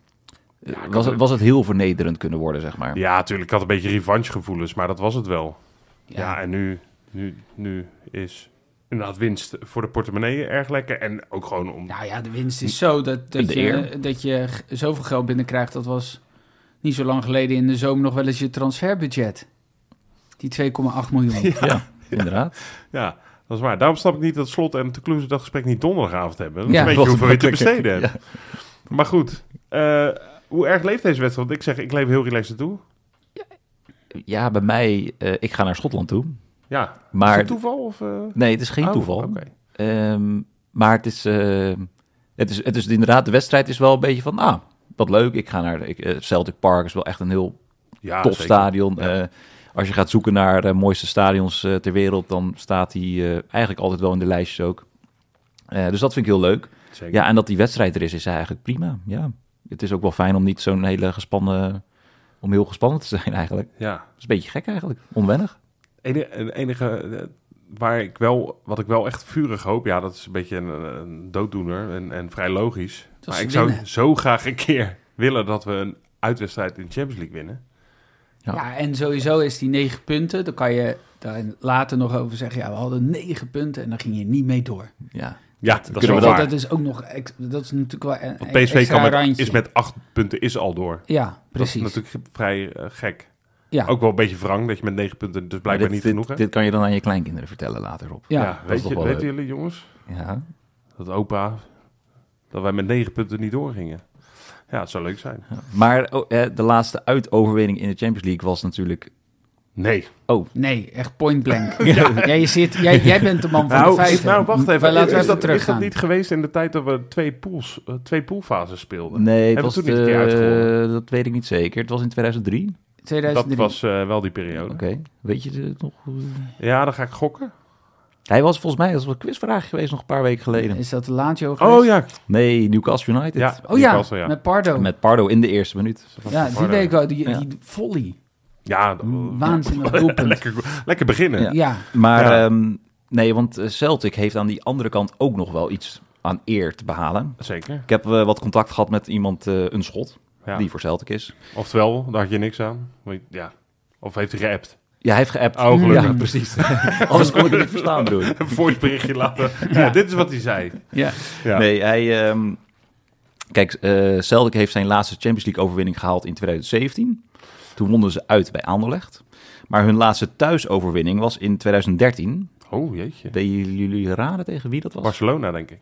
Speaker 3: kan
Speaker 4: was, het,
Speaker 3: ook.
Speaker 4: was het heel vernederend kunnen worden, zeg maar.
Speaker 3: Ja, natuurlijk, ik had een beetje revanchegevoelens, maar dat was het wel. Ja,
Speaker 4: Ja.
Speaker 3: en nu, nu, nu is inderdaad winst voor de portemonnee erg lekker. En ook gewoon om...
Speaker 2: Nou ja, de winst is zo dat, dat,
Speaker 4: De
Speaker 2: je,
Speaker 4: eer.
Speaker 2: dat je g- zoveel geld binnenkrijgt. Dat was niet zo lang geleden in de zomer nog wel eens je transferbudget. Die 2,8 miljoen.
Speaker 4: Ja, inderdaad.
Speaker 3: Ja, dat is waar. Daarom snap ik niet dat Slot en de Kloeze dat gesprek niet donderdagavond hebben. Dan
Speaker 2: Ja,
Speaker 3: weet je
Speaker 4: dat is
Speaker 3: hoeveel je te
Speaker 4: makkelijker.
Speaker 3: besteden hebt. Maar goed, eh, hoe erg leeft deze wedstrijd? Want ik zeg, ik leef heel relaxed toe.
Speaker 4: Ja, bij mij, eh, ik ga naar Schotland toe.
Speaker 3: Ja, is
Speaker 4: Maar
Speaker 3: het toeval? Of, eh?
Speaker 4: nee, het is geen
Speaker 3: Oh,
Speaker 4: toeval.
Speaker 3: oké.
Speaker 4: Ehm, maar het is, ehm, het is, het is inderdaad, de wedstrijd is wel een beetje van, ah, wat leuk. Ik ga naar ik, eh, Celtic Park, is wel echt een heel
Speaker 3: Ja,
Speaker 4: tof
Speaker 3: Ah, zeker.
Speaker 4: stadion. Eh, als je gaat zoeken naar de mooiste stadions eh, ter wereld, dan staat die eh, eigenlijk altijd wel in de lijstjes ook. Eh, dus dat vind ik heel leuk.
Speaker 3: Zeker.
Speaker 4: Ja, en dat die wedstrijd er is, is eigenlijk prima. Ja, het is ook wel fijn om niet zo'n hele gespannen, om heel gespannen te zijn eigenlijk.
Speaker 3: ja.
Speaker 4: Dat is een beetje gek eigenlijk, onwennig.
Speaker 3: Enige, het enige eh, waar ik wel, wat ik wel echt vurig hoop, ja, dat is een beetje een, een dooddoener en, en vrij logisch.
Speaker 2: Dat
Speaker 3: Maar
Speaker 2: ze
Speaker 3: ik zou
Speaker 2: winnen.
Speaker 3: zo graag een keer willen dat we een uitwedstrijd in de Champions League winnen.
Speaker 2: Ja. en sowieso is die 9 punten. Dan kan je daar later nog over zeggen. Ja, we hadden 9 punten en dan ging je niet mee door.
Speaker 4: Ja,
Speaker 3: Ja, dat, is
Speaker 4: kunnen
Speaker 3: wel
Speaker 4: we
Speaker 2: Dat,
Speaker 3: waar.
Speaker 2: dat is ook nog. ex- Dat is natuurlijk wel een,
Speaker 3: Want
Speaker 2: een
Speaker 3: PSV
Speaker 2: extra
Speaker 3: kan met,
Speaker 2: randje.
Speaker 3: is met acht punten is al door.
Speaker 2: Ja,
Speaker 3: Dat
Speaker 2: precies.
Speaker 3: is natuurlijk vrij eh, gek.
Speaker 2: Ja.
Speaker 3: Ook wel een beetje wrang dat je met negen punten dus blijkbaar
Speaker 4: Maar
Speaker 3: niet
Speaker 4: dit,
Speaker 3: genoeg
Speaker 4: dit,
Speaker 3: hebt.
Speaker 4: dit kan je dan aan je kleinkinderen vertellen later op.
Speaker 2: ja.
Speaker 3: ja, weet
Speaker 4: toch
Speaker 3: je,
Speaker 4: wel
Speaker 3: weten
Speaker 4: leuk.
Speaker 3: jullie jongens
Speaker 4: Ja,
Speaker 3: dat opa dat wij met negen punten niet doorgingen? Ja, het zou leuk zijn.
Speaker 4: Maar oh, eh, de laatste uitoverwinning in de Champions League was natuurlijk...
Speaker 3: Nee.
Speaker 2: Nee, echt point blank. jij, zit, jij, jij bent de man van de feiten.
Speaker 3: nou, wacht even.
Speaker 2: Maar laten we even
Speaker 3: is, dat, is dat
Speaker 2: teruggaan.
Speaker 3: niet geweest in de tijd dat we twee, pools, eh, twee poolfases speelden?
Speaker 4: Nee, het
Speaker 3: Hebben
Speaker 4: was
Speaker 3: we toen niet een keer uitgevonden?
Speaker 4: de, dat weet ik niet zeker. Het was in 2003. Oké,
Speaker 2: 2003.
Speaker 3: Dat was eh, wel die periode.
Speaker 4: weet je het nog? eh,
Speaker 3: Ja, dan ga ik gokken.
Speaker 4: Hij was volgens mij, dat was een quizvraag geweest nog een paar weken geleden.
Speaker 2: Is dat de Lazio geweest?
Speaker 3: Oh ja.
Speaker 4: Nee, Newcastle United.
Speaker 3: ja
Speaker 2: Oh ja,
Speaker 3: Newcastle, ja.
Speaker 2: met Pardo.
Speaker 4: Met Pardo in de eerste minuut.
Speaker 2: ja, die weet ik wel. Die,
Speaker 4: Ja.
Speaker 2: die volley.
Speaker 3: Oh, Ja, dat-
Speaker 2: Waanzinnig doelpunt.
Speaker 3: lekker, lekker beginnen.
Speaker 4: Ja.
Speaker 2: Ja,
Speaker 4: Maar
Speaker 3: Ja.
Speaker 4: ehm, nee, want eh, Celtic heeft aan die andere kant ook nog wel iets aan eer te behalen.
Speaker 3: Zeker.
Speaker 4: Ik heb eh, wat contact gehad met iemand, eh, een schot,
Speaker 3: Ja.
Speaker 4: die voor Celtic is.
Speaker 3: Oftewel, daar had je niks aan. Want- Ja. Of heeft hij geappt?
Speaker 4: Ja, hij heeft geappt.
Speaker 3: Oh, gelukkig.
Speaker 4: Ja, precies. Anders kon ik het niet verstaan, broer.
Speaker 3: Een voiceberichtje laten. Ja. dit is wat hij zei.
Speaker 2: ja.
Speaker 3: Ja.
Speaker 4: Nee, hij... ehm, kijk, eh Celtic heeft zijn laatste Champions League overwinning gehaald in 2017. Toen wonnen ze uit bij Anderlecht. Maar hun laatste thuisoverwinning was in 2013.
Speaker 3: Oh, jeetje.
Speaker 4: Deden jullie raden tegen wie dat was?
Speaker 3: Barcelona, denk ik.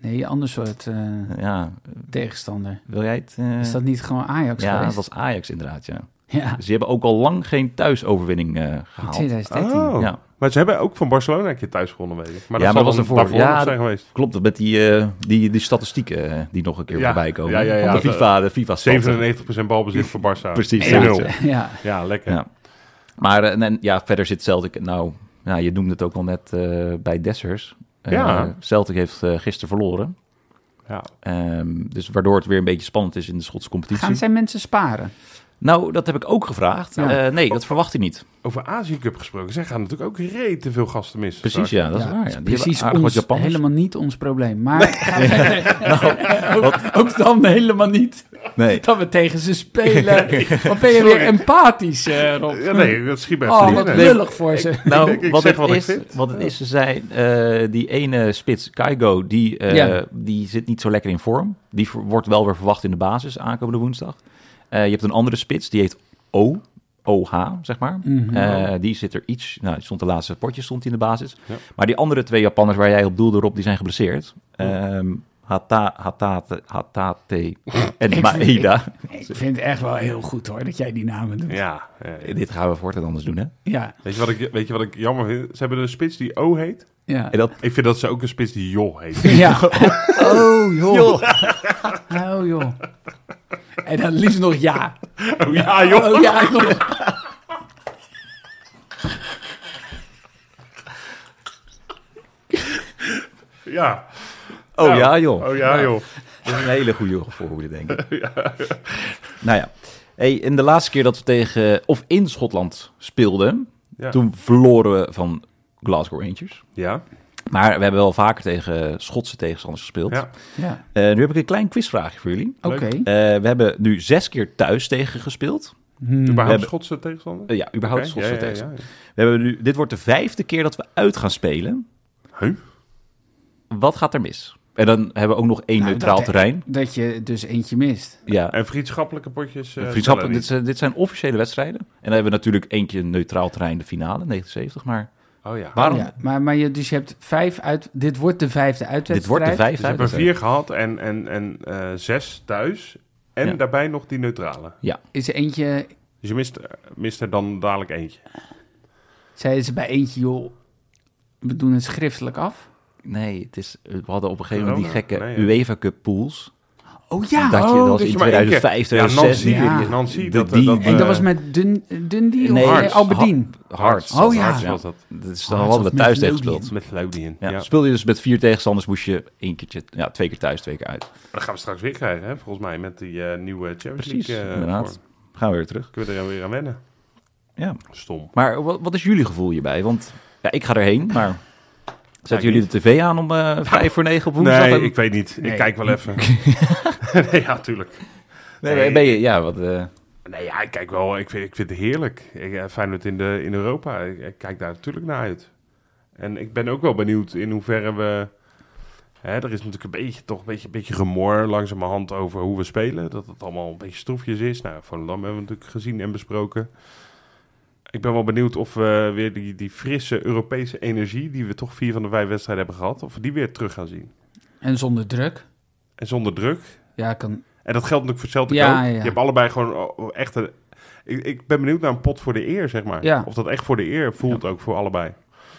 Speaker 2: Nee, ander soort eh,
Speaker 4: Ja,
Speaker 2: tegenstander.
Speaker 4: wil jij het? eh,
Speaker 2: Is dat niet gewoon Ajax
Speaker 4: ja, dat
Speaker 2: geweest?
Speaker 4: was Ajax inderdaad, ja.
Speaker 2: Ja,
Speaker 4: Ze hebben ook al lang geen thuisoverwinning eh, gehaald.
Speaker 2: 2013.
Speaker 3: Oh.
Speaker 4: Ja.
Speaker 3: Maar ze hebben ook van Barcelona een keer thuis gewonnen, weet ik. Maar
Speaker 4: Ja,
Speaker 3: dat
Speaker 4: maar
Speaker 3: zal
Speaker 4: was
Speaker 3: dan
Speaker 4: ervoor.
Speaker 3: daarvoor
Speaker 4: Ja,
Speaker 3: nog
Speaker 4: dat-
Speaker 3: zijn geweest.
Speaker 4: Klopt, dat met die, eh, die, die statistieken eh, die nog een keer
Speaker 3: Ja.
Speaker 4: voorbij komen.
Speaker 3: Ja, ja, ja.
Speaker 4: Van de
Speaker 3: Dat,
Speaker 4: FIFA, de FIFA
Speaker 3: 97% balbezit voor Barça.
Speaker 4: Precies.
Speaker 2: Ja.
Speaker 3: 1-0.
Speaker 2: Ja.
Speaker 3: Ja, lekker.
Speaker 4: Ja. Maar eh, en, ja, verder zit Celtic, nou, ja, je noemde het ook al net eh, bij Dessers. Eh,
Speaker 3: Ja.
Speaker 4: Celtic heeft eh, gisteren verloren.
Speaker 3: Ja.
Speaker 4: Ehm, dus waardoor het weer een beetje spannend is in de Schotse competitie.
Speaker 2: Gaan zij mensen sparen?
Speaker 4: Nou, dat heb ik ook gevraagd.
Speaker 2: Ja.
Speaker 4: Eh, nee, dat verwacht hij niet.
Speaker 3: Over Azië Cup gesproken. Zij gaan natuurlijk ook rete veel gasten missen.
Speaker 4: Precies, ja, dat is
Speaker 2: Ja,
Speaker 4: waar.
Speaker 2: is
Speaker 4: Ja. Die
Speaker 2: precies
Speaker 4: hebben aardig wat
Speaker 2: ons,
Speaker 4: Japanners.
Speaker 2: helemaal niet ons probleem. Maar gaan we verder. ook, ook dan helemaal niet
Speaker 4: Nee.
Speaker 2: dat we tegen ze spelen. Wat ben je weer empathisch, eh, Rob?
Speaker 3: Ja, nee, dat schiet bij
Speaker 2: oh,
Speaker 3: even
Speaker 2: wat
Speaker 3: in.
Speaker 2: lullig voor ze.
Speaker 4: Nou,
Speaker 3: Ik- ik
Speaker 4: wat,
Speaker 3: zeg
Speaker 4: het
Speaker 3: wat ik
Speaker 4: is,
Speaker 3: vind.
Speaker 4: wat het is, ze zei, eh, die ene spits, Kaigo, die, eh,
Speaker 2: Ja.
Speaker 4: die zit niet zo lekker in vorm. Die ver- wordt wel weer verwacht in de basis aankomende woensdag. Eh, je hebt een andere spits, die heet O, OH, zeg maar. Eh, die zit er iets, nou, die stond de laatste potjes stond die in de basis.
Speaker 3: Ja.
Speaker 4: Maar die andere twee Japanners waar jij op doelde, Rob, die zijn geblesseerd. Ehm Hata, Hatate, Hatate en Maeda.
Speaker 2: Ik vind het echt wel heel goed hoor, dat jij die namen doet. Ja.
Speaker 3: Ja, ja, ja.
Speaker 4: Dit gaan we voortaan anders doen, hè?
Speaker 2: ja.
Speaker 3: Weet, je wat ik, weet je wat ik jammer vind? Ze hebben een spits die O heet.
Speaker 2: ja.
Speaker 4: En dat,
Speaker 3: Ik vind dat ze ook een spits die Jo heet.
Speaker 2: Oh joh. Oh joh. En dan liefst nog ja.
Speaker 3: Oh, ja, joh.
Speaker 2: Oh ja, nog.
Speaker 3: Ja.
Speaker 4: oh
Speaker 3: Nou,
Speaker 4: ja, joh.
Speaker 3: Oh ja, joh.
Speaker 4: Dat is een hele goede voorhoede, denk ik. Nou ja. Hey, en de laatste keer dat we tegen, of in Schotland speelden,
Speaker 3: Ja.
Speaker 4: toen verloren we van Glasgow Rangers.
Speaker 3: Ja,
Speaker 4: Maar we hebben wel vaker tegen Schotse tegenstanders gespeeld.
Speaker 3: ja.
Speaker 2: Ja,
Speaker 4: Eh, nu heb ik een klein quizvraagje voor jullie.
Speaker 2: oké.
Speaker 4: Eh, we hebben nu zes keer thuis tegen gespeeld.
Speaker 3: Überhaupt
Speaker 4: hebben-
Speaker 3: Schotse tegenstander?
Speaker 4: Eh, ja, überhaupt
Speaker 3: Oké,
Speaker 4: Schotse
Speaker 3: ja, ja,
Speaker 4: tegenstanders. We hebben nu, dit wordt de vijfde keer dat we uit gaan spelen.
Speaker 3: ja. Huh?
Speaker 4: Wat gaat er mis? En dan hebben we ook nog één
Speaker 2: Nou,
Speaker 4: neutraal
Speaker 2: dat-
Speaker 4: terrein.
Speaker 2: Dat je dus eentje mist.
Speaker 4: Ja.
Speaker 3: En vriendschappelijke potjes? eh,
Speaker 4: Vriendschappen,
Speaker 3: tellen
Speaker 4: dit,
Speaker 3: niet.
Speaker 4: zijn- dit zijn officiële wedstrijden. En dan hebben we natuurlijk eentje een neutraal terrein, de finale, 79. Maar
Speaker 3: Oh ja.
Speaker 4: waarom?
Speaker 2: Ja, maar, maar je, dus je hebt vijf uit... Dit wordt de vijfde uitwedstrijd.
Speaker 4: Dit wordt de
Speaker 3: Dus
Speaker 4: vijfde
Speaker 3: we hebben
Speaker 4: uitwedstrijd.
Speaker 3: vier gehad en, en, en eh, zes thuis. En
Speaker 4: Ja.
Speaker 3: daarbij nog die neutrale.
Speaker 2: Is er eentje...
Speaker 3: Dus je mist, mist er dan dadelijk eentje.
Speaker 2: Zeiden ze bij eentje, joh... We doen het schriftelijk af.
Speaker 4: Nee, het is, we hadden op een gegeven moment die
Speaker 3: Corona?
Speaker 4: gekke
Speaker 3: Nee, ja.
Speaker 4: UEFA Cup pools.
Speaker 2: Oh ja!
Speaker 4: dat je,
Speaker 3: oh,
Speaker 4: dat was
Speaker 3: dat
Speaker 4: in
Speaker 3: je maar één
Speaker 4: 2005,
Speaker 3: keer- ja,
Speaker 4: 2006.
Speaker 3: Nancy,
Speaker 2: Ja.
Speaker 4: die-
Speaker 3: Nancy,
Speaker 4: de-
Speaker 3: dat-
Speaker 4: die-
Speaker 3: dat-
Speaker 2: en dat
Speaker 3: eh,
Speaker 2: was met Dun, Dundee
Speaker 4: Nee,
Speaker 2: of eh,
Speaker 3: Hearts.
Speaker 2: Alberdien?
Speaker 4: Hearts.
Speaker 2: Oh ja.
Speaker 3: Hearts
Speaker 4: Ja.
Speaker 3: was Oh, dat.
Speaker 4: Dus
Speaker 2: Hearts
Speaker 4: dan hadden
Speaker 2: of
Speaker 4: we thuis tegen
Speaker 2: Midlothian.
Speaker 4: gespeeld.
Speaker 3: Met Lodian.
Speaker 4: Ja,
Speaker 3: Ja.
Speaker 4: Speelde je dus met vier tegenstanders, moest je één keertje, ja, twee keer thuis, twee keer uit.
Speaker 3: Dat gaan we straks weer krijgen, hè? volgens mij, met die eh, nieuwe Champions
Speaker 4: Precies,
Speaker 3: League. eh,
Speaker 4: inderdaad.
Speaker 3: vorm.
Speaker 4: Gaan we weer terug.
Speaker 3: Kunnen we er weer aan wennen.
Speaker 4: Ja.
Speaker 3: Stom.
Speaker 4: Maar wat, wat is jullie gevoel hierbij? Want ja, ik ga erheen, maar zetten
Speaker 3: ik
Speaker 4: jullie de tv aan om eh vijf voor negen op woensdag?
Speaker 3: Nee,
Speaker 4: En-
Speaker 3: ik weet niet.
Speaker 2: Nee.
Speaker 3: Ik kijk wel even. nee, ja, tuurlijk.
Speaker 4: Nee, maar ben je, ja, wat... eh,
Speaker 3: Nee, ja, ik kijk wel. Ik vind, ik vind het heerlijk. Ik, eh, Feyenoord in, de, in Europa. Ik, ik kijk daar natuurlijk naar uit. En ik ben ook wel benieuwd in hoeverre we... Hè, er is natuurlijk een beetje, toch een beetje, een beetje gemor langzamerhand over hoe we spelen. Dat het allemaal een beetje stroefjes is. Nou, Van Lam hebben we natuurlijk gezien en besproken. Ik ben wel benieuwd of we weer die, die frisse Europese energie... die we toch vier van de vijf wedstrijden hebben gehad... of we die weer terug gaan zien.
Speaker 2: En zonder druk.
Speaker 3: En zonder druk.
Speaker 2: Ja, kan...
Speaker 3: En dat geldt natuurlijk voor Celtic
Speaker 2: Ja,
Speaker 3: ook.
Speaker 2: ja, ja.
Speaker 3: Je hebt allebei gewoon oh, echt een... Ik, ik ben benieuwd naar een pot voor de eer, zeg maar.
Speaker 2: Ja.
Speaker 3: Of dat echt voor de eer voelt ook voor allebei.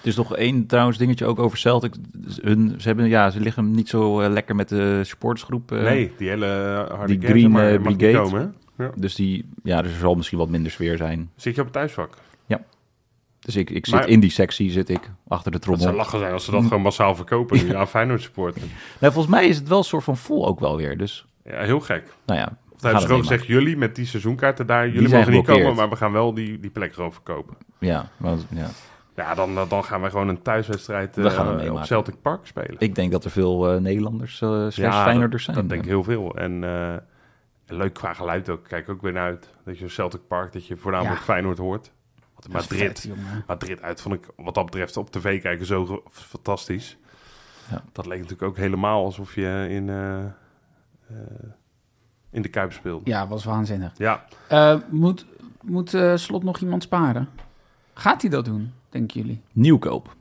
Speaker 4: Er is nog één trouwens dingetje ook over Celtic. Dus Hun, ze, hebben, ja, ze liggen niet zo eh, lekker met de supportersgroep. eh,
Speaker 3: nee, die hele harde
Speaker 4: die
Speaker 3: kern,
Speaker 4: Green,
Speaker 3: maar,
Speaker 4: eh,
Speaker 3: mag niet
Speaker 4: Brigade.
Speaker 3: Komen, hè?
Speaker 4: Dus die, ja, dus er zal misschien wat minder sfeer zijn.
Speaker 3: Zit je op het thuisvak?
Speaker 4: Dus ik, ik zit
Speaker 3: Maar-
Speaker 4: in die sectie, zit ik, achter de
Speaker 3: Dat
Speaker 4: trommel.
Speaker 3: zou lachen zijn als ze dat gewoon massaal verkopen nu aan Feyenoord supporten.
Speaker 4: Nou, volgens mij is het wel een soort van vol ook wel weer. Dus,
Speaker 3: Ja, heel gek.
Speaker 4: nou ja. we
Speaker 3: Of hebben
Speaker 4: gaan
Speaker 3: ze
Speaker 4: het
Speaker 3: gewoon
Speaker 4: meemaken.
Speaker 3: gezegd, jullie met die seizoenkaarten daar, jullie
Speaker 4: zijn
Speaker 3: mogen niet komen,
Speaker 4: geblokkeerd.
Speaker 3: maar we gaan wel die, die plek gewoon verkopen.
Speaker 4: Ja, want, ja.
Speaker 3: Ja, dan, dan gaan wij gewoon een thuiswedstrijd
Speaker 4: We
Speaker 3: eh,
Speaker 4: gaan hem
Speaker 3: op
Speaker 4: meemaken.
Speaker 3: Celtic Park spelen.
Speaker 4: Ik denk dat er veel eh, Nederlanders eh slash
Speaker 3: dat-
Speaker 4: Feyenoorders zijn.
Speaker 3: Dat denk ik heel veel. En eh, leuk qua geluid ook. Kijk ook weer naar uit. Dat je Celtic Park, dat je voornamelijk
Speaker 2: Ja.
Speaker 3: Feyenoord hoort. Want
Speaker 2: Dat is
Speaker 3: Madrid,
Speaker 2: vet, jongen.
Speaker 3: Madrid uit vond ik wat dat betreft op tv kijken zo ge- fantastisch.
Speaker 4: Ja.
Speaker 3: Dat leek natuurlijk ook helemaal alsof je in, eh, eh, in de Kuip speelde.
Speaker 2: Ja, was waanzinnig.
Speaker 3: Ja,
Speaker 2: Eh, moet moet eh, Slot nog iemand sparen? Gaat hij dat doen, denken jullie?
Speaker 4: Nieuwkoop.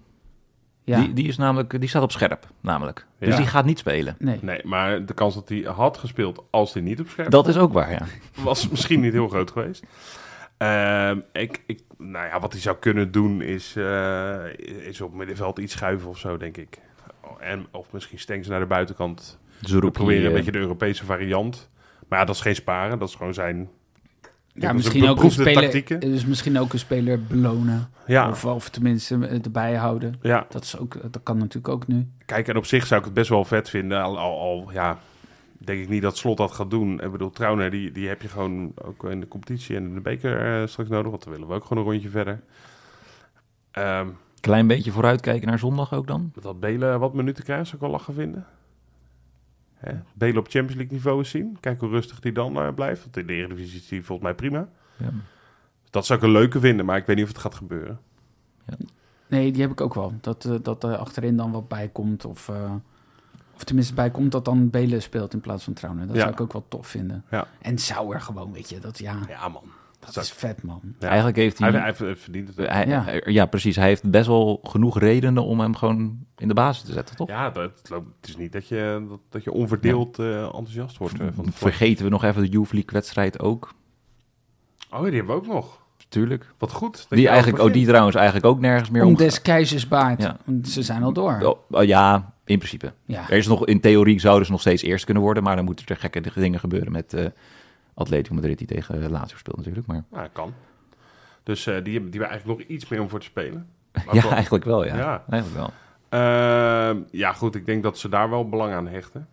Speaker 2: Ja.
Speaker 4: Die, die, is namelijk, die staat op scherp, namelijk. Dus
Speaker 3: Ja.
Speaker 4: die gaat niet spelen.
Speaker 2: Nee.
Speaker 3: nee, maar de kans dat hij had gespeeld als hij niet op scherp
Speaker 4: Dat is ook waar, ja.
Speaker 3: was misschien niet heel groot geweest. Ehm, ik, ik, nou ja, wat hij zou kunnen doen is, eh, is op middenveld iets schuiven of zo, denk ik. En, of misschien Stengs naar de buitenkant.
Speaker 4: Ze
Speaker 3: We
Speaker 4: roepen
Speaker 3: proberen
Speaker 4: hier,
Speaker 3: een
Speaker 4: eh,
Speaker 3: beetje de Europese variant. Maar ja, dat is geen sparen, dat is gewoon zijn...
Speaker 2: Ja,
Speaker 3: is
Speaker 2: misschien
Speaker 3: een
Speaker 2: ook een
Speaker 3: beproefde
Speaker 2: speler,
Speaker 3: tactieken.
Speaker 2: dus misschien ook een speler belonen.
Speaker 3: Ja,
Speaker 2: Of, of tenminste eh, erbij houden.
Speaker 3: ja,
Speaker 2: Dat, is ook, dat kan natuurlijk ook nu.
Speaker 3: kijk, en op zich zou ik het best wel vet vinden. Al, al, al, ja, denk ik niet dat Slot dat gaat doen. Ik bedoel, Trauner, die, die heb je gewoon ook in de competitie en in de beker eh, straks nodig. Want dan willen we ook gewoon een rondje verder. Ehm,
Speaker 4: Klein beetje vooruitkijken naar zondag ook dan.
Speaker 3: Dat Belen wat minuten krijgt, zou ik wel lachen vinden. Hè? Belen op Champions League niveau eens zien. Kijk hoe rustig die dan eh, blijft. Want in de Eredivisie is die volgens mij prima.
Speaker 4: Ja.
Speaker 3: Dat zou ik een leuke vinden, maar ik weet niet of het gaat gebeuren.
Speaker 2: Nee, die heb ik ook wel. Dat, eh, dat er achterin dan wat bij komt. Of, eh, of tenminste bij komt dat dan Belen speelt in plaats van Trouwen. Dat
Speaker 3: Ja.
Speaker 2: zou ik ook wel tof vinden.
Speaker 3: Ja.
Speaker 2: En Sauer gewoon, weet je. Dat, ja,
Speaker 3: Ja, man.
Speaker 2: dat
Speaker 3: zou-
Speaker 2: is vet, man.
Speaker 3: Ja.
Speaker 4: Eigenlijk heeft hij...
Speaker 3: Hij, hij verdient het.
Speaker 4: hij-
Speaker 2: Ja.
Speaker 4: hij- ja, precies. Hij heeft best wel genoeg redenen om hem gewoon in de basis te zetten, toch?
Speaker 3: Ja, dat, het loopt- het is niet dat je, dat, dat je onverdeeld eh, enthousiast wordt eh, van de vlag.
Speaker 4: Vergeten we nog even de Youth League wedstrijd ook.
Speaker 3: Oh, die hebben we ook nog.
Speaker 4: Tuurlijk.
Speaker 3: Wat goed. dat
Speaker 4: Die,
Speaker 3: je
Speaker 4: eigenlijk,
Speaker 3: al
Speaker 4: oh, die trouwens eigenlijk ook nergens meer
Speaker 2: Om
Speaker 4: omgaat.
Speaker 2: des keizers baard.
Speaker 4: Ja.
Speaker 2: Want Ze zijn al door.
Speaker 4: Oh, oh, ja, in principe.
Speaker 2: Ja.
Speaker 4: Er is nog, in theorie zouden ze nog steeds eerst kunnen worden, maar dan moeten er gekke dingen gebeuren met eh Atletico Madrid die tegen eh, Lazio speelt natuurlijk. Maar
Speaker 3: Ja, kan. Dus eh, die hebben die hebben eigenlijk nog iets meer om voor te spelen. Maar
Speaker 4: ja,
Speaker 3: wel-
Speaker 4: eigenlijk wel, ja.
Speaker 3: Ja.
Speaker 4: Eigenlijk wel.
Speaker 3: Ehm, ja, goed. Ik denk dat ze daar wel belang aan hechten.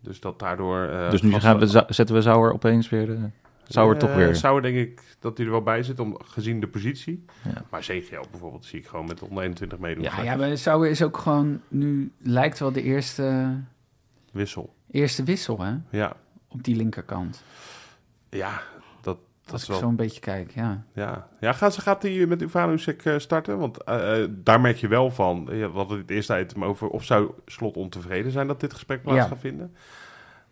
Speaker 3: Dus dat daardoor... eh,
Speaker 4: dus nu
Speaker 3: vast-
Speaker 4: gaan we, za- zetten we Sauer opeens weer. eh, Sauer
Speaker 3: Eh,
Speaker 4: toch weer.
Speaker 3: Sauer denk ik dat hij er wel bij zit, om, gezien de positie.
Speaker 4: Ja.
Speaker 3: Maar CGL bijvoorbeeld zie ik gewoon met onder 21 meedoen.
Speaker 2: Ja,
Speaker 3: Ja,
Speaker 2: ja, maar Sauer is ook gewoon... Nu lijkt wel de eerste,
Speaker 3: Wissel.
Speaker 2: eerste wissel, hè?
Speaker 3: Ja,
Speaker 2: Op die linkerkant.
Speaker 3: ja dat, dat
Speaker 2: Als
Speaker 3: is
Speaker 2: ik zo
Speaker 3: wel...
Speaker 2: een beetje kijk, ja.
Speaker 3: Ja, ja gaat, ze- gaat hij met Uvanusek eh, starten? Want eh, eh, daar merk je wel van. eh, We hadden het eerste item over of zou Slot ontevreden zijn dat dit gesprek plaats
Speaker 2: Ja.
Speaker 3: gaat vinden.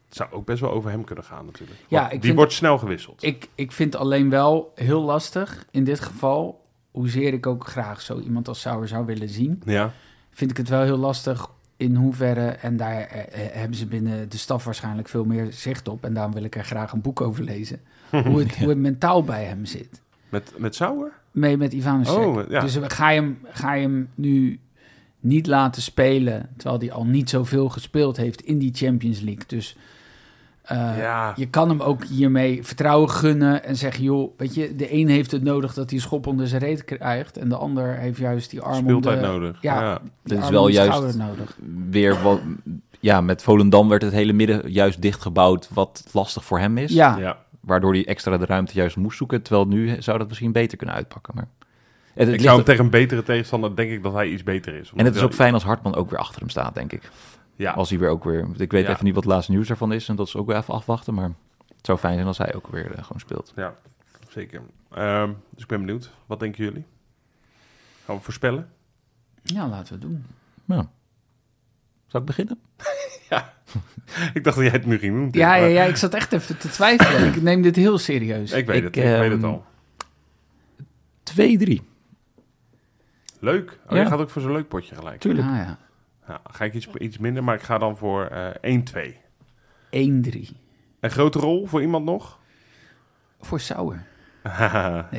Speaker 3: Het zou ook best wel over hem kunnen gaan natuurlijk.
Speaker 2: Ja,
Speaker 3: Want
Speaker 2: ik
Speaker 3: die
Speaker 2: vind-
Speaker 3: wordt snel gewisseld.
Speaker 2: Ik, ik vind alleen wel heel lastig in dit geval, hoezeer ik ook graag zo iemand als Sauer zou willen zien,
Speaker 3: Ja.
Speaker 2: vind ik het wel heel lastig in hoeverre, en daar eh, eh, hebben ze binnen de staf waarschijnlijk veel meer zicht op, en daarom wil ik er graag een boek over lezen, hoe het, hoe het mentaal bij hem zit.
Speaker 3: Met, met Sauer?
Speaker 2: Mee met Ivanus.
Speaker 3: Oh, ja.
Speaker 2: Dus ga je, hem, ga je hem nu niet laten spelen, terwijl hij al niet zoveel gespeeld heeft in die Champions League. Dus eh,
Speaker 3: Ja.
Speaker 2: je kan hem ook hiermee vertrouwen gunnen en zeggen, joh, weet je, de een heeft het nodig dat hij een schop onder zijn reet krijgt en de ander heeft juist die arm om de,
Speaker 3: Speeltijd nodig.
Speaker 2: eh, ja. die
Speaker 4: Dat is
Speaker 2: arm
Speaker 4: wel
Speaker 2: om de
Speaker 4: juist-
Speaker 2: schouder nodig.
Speaker 4: Weer wat, ja, met Volendam werd het hele midden juist dichtgebouwd, wat lastig voor hem is.
Speaker 2: Ja,
Speaker 3: ja.
Speaker 4: Waardoor hij extra de ruimte juist moest zoeken. Terwijl nu zou dat misschien beter kunnen uitpakken. Maar het,
Speaker 3: Ik
Speaker 4: het ligt
Speaker 3: zou hem
Speaker 4: er-
Speaker 3: tegen een betere tegenstander denk ik dat hij iets beter is.
Speaker 4: en het is ook
Speaker 3: Omdat-
Speaker 4: fijn als Hartman ook weer achter hem staat, denk ik.
Speaker 3: Ja,
Speaker 4: Als hij weer ook weer... want Ik weet
Speaker 3: Ja.
Speaker 4: even niet wat het laatste nieuws ervan is. En dat is ook weer even afwachten. Maar het zou fijn zijn als hij ook weer eh, gewoon speelt.
Speaker 3: ja zeker. Ehm, dus ik ben benieuwd. Wat denken jullie? Gaan we voorspellen?
Speaker 2: ja, laten we het doen.
Speaker 4: Nou, zou ik beginnen?
Speaker 3: ik dacht dat jij het nu ging doen. Tim,
Speaker 2: Ja, Dus ja,
Speaker 3: maar
Speaker 2: ja, ik zat echt even te twijfelen. Ik neem dit heel serieus.
Speaker 3: Ik weet
Speaker 4: Ik,
Speaker 3: het, ik weet het
Speaker 4: ehm,
Speaker 3: al.
Speaker 4: 2-3.
Speaker 3: Leuk. Oh, je
Speaker 4: ja.
Speaker 3: gaat ook voor zo'n leuk potje gelijk.
Speaker 2: Ah,
Speaker 4: Tuurlijk.
Speaker 2: ja.
Speaker 3: Ja, ga ik iets, iets minder, maar ik ga dan voor eh 1-2.
Speaker 2: 1-3.
Speaker 3: Een grote rol voor iemand nog?
Speaker 2: Voor Sauer. Nee,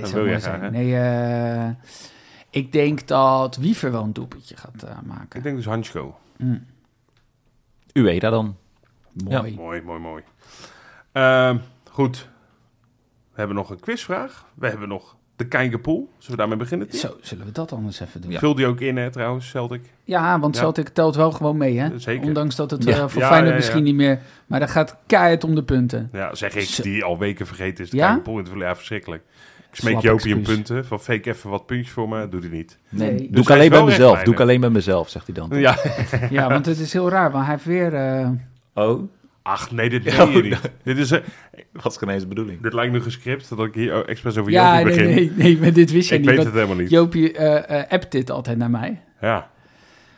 Speaker 3: dat
Speaker 2: zou
Speaker 3: wil
Speaker 2: mooi
Speaker 3: je
Speaker 2: zijn.
Speaker 3: graag, hè?
Speaker 2: Nee, eh, ik denk dat Wiever wel een doelpuntje gaat eh, maken.
Speaker 3: Ik denk dus Hansko.
Speaker 4: Ueda dan.
Speaker 3: Dus
Speaker 2: Mooi.
Speaker 3: Mooi, mooi, mooi. Ehm, goed. We hebben nog een quizvraag. We hebben nog de Kijkerpool. Zullen we daarmee beginnen? Tim?
Speaker 2: Zo, zullen we dat anders even doen? Ja,
Speaker 3: Vul die ook in, hè, trouwens, Celtic.
Speaker 2: want
Speaker 3: Ja.
Speaker 2: Celtic telt wel gewoon mee, hè?
Speaker 3: Zeker.
Speaker 2: Ondanks dat het
Speaker 4: Ja.
Speaker 2: eh, voor
Speaker 3: Ja,
Speaker 2: Feyenoord
Speaker 3: ja, ja.
Speaker 2: misschien niet meer... Maar dat gaat keihard om de punten.
Speaker 3: Ja, zeg ik,
Speaker 2: Zo.
Speaker 3: die al weken vergeten is. De
Speaker 2: Ja?
Speaker 3: ja? in het verleden. Ja, verschrikkelijk. Ik smeek
Speaker 2: Slap
Speaker 3: Jopie een
Speaker 2: excuus.
Speaker 3: punten. Van fake even wat puntjes voor me. Doe die niet.
Speaker 2: Nee.
Speaker 4: Doe ik
Speaker 3: hij
Speaker 4: alleen
Speaker 3: is
Speaker 4: bij
Speaker 3: wel
Speaker 4: mezelf.
Speaker 3: rechtlijnig.
Speaker 4: Doe ik alleen bij mezelf, zegt hij dan.
Speaker 3: Ja.
Speaker 2: Ja, want het is heel raar, want hij heeft weer... eh,
Speaker 4: Oh,
Speaker 3: Ach, nee, dit meen
Speaker 2: oh,
Speaker 3: je niet. Dit, is, eh,
Speaker 5: Wat is geen eens de bedoeling?
Speaker 3: dit lijkt nu gescript dat ik hier oh, expres over
Speaker 2: Ja,
Speaker 3: Jopie
Speaker 2: nee,
Speaker 3: begin.
Speaker 2: nee, nee, maar dit wist je
Speaker 3: Ik
Speaker 2: niet.
Speaker 3: weet
Speaker 2: want
Speaker 3: het helemaal niet.
Speaker 2: Joopie eh, eh, appt dit altijd naar mij.
Speaker 3: Ja.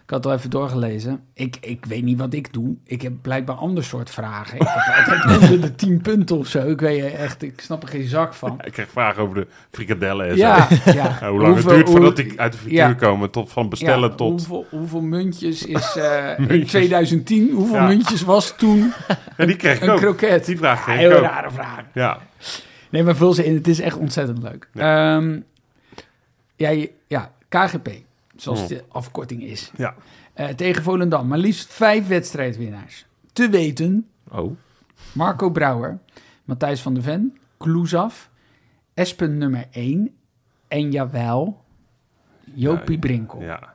Speaker 2: Ik had het al even doorgelezen. Ik, ik weet niet wat ik doe. Ik heb blijkbaar ander soort vragen. Ik heb altijd onder de tien punten of zo. Ik weet echt, ik snap er geen zak van.
Speaker 3: Ik krijg vragen over de frikadellen en zo.
Speaker 2: Ja, ja.
Speaker 3: Ja, hoe lang
Speaker 2: Hoeveel-
Speaker 3: het duurt voordat
Speaker 2: hoe-
Speaker 3: ik uit de frituur
Speaker 2: ja.
Speaker 3: komen, tot van bestellen
Speaker 2: ja,
Speaker 3: tot...
Speaker 2: Hoeveel, hoeveel muntjes is eh, in
Speaker 3: Muntjes.
Speaker 2: 2010? Hoeveel
Speaker 3: Ja.
Speaker 2: muntjes was toen
Speaker 3: Ja, die kreeg ik
Speaker 2: een
Speaker 3: ook.
Speaker 2: kroket? Ah,
Speaker 3: Die vraag kreeg
Speaker 2: Heel
Speaker 3: ik ook.
Speaker 2: rare vraag.
Speaker 3: Ja,
Speaker 2: Nee, maar vul ze in. Het is echt ontzettend leuk. Ja, ja, je- ja KGP, zoals
Speaker 3: Hmm.
Speaker 2: de afkorting is.
Speaker 3: Ja.
Speaker 2: Eh, tegen Volendam, maar liefst vijf wedstrijdwinnaars. Te weten
Speaker 4: oh.
Speaker 2: Marco Brouwer, Matthijs van der Ven, Kloesaf, Espen nummer 1 en jawel, Jopie
Speaker 3: Ja,
Speaker 2: Brinkel. Ja,
Speaker 3: ja.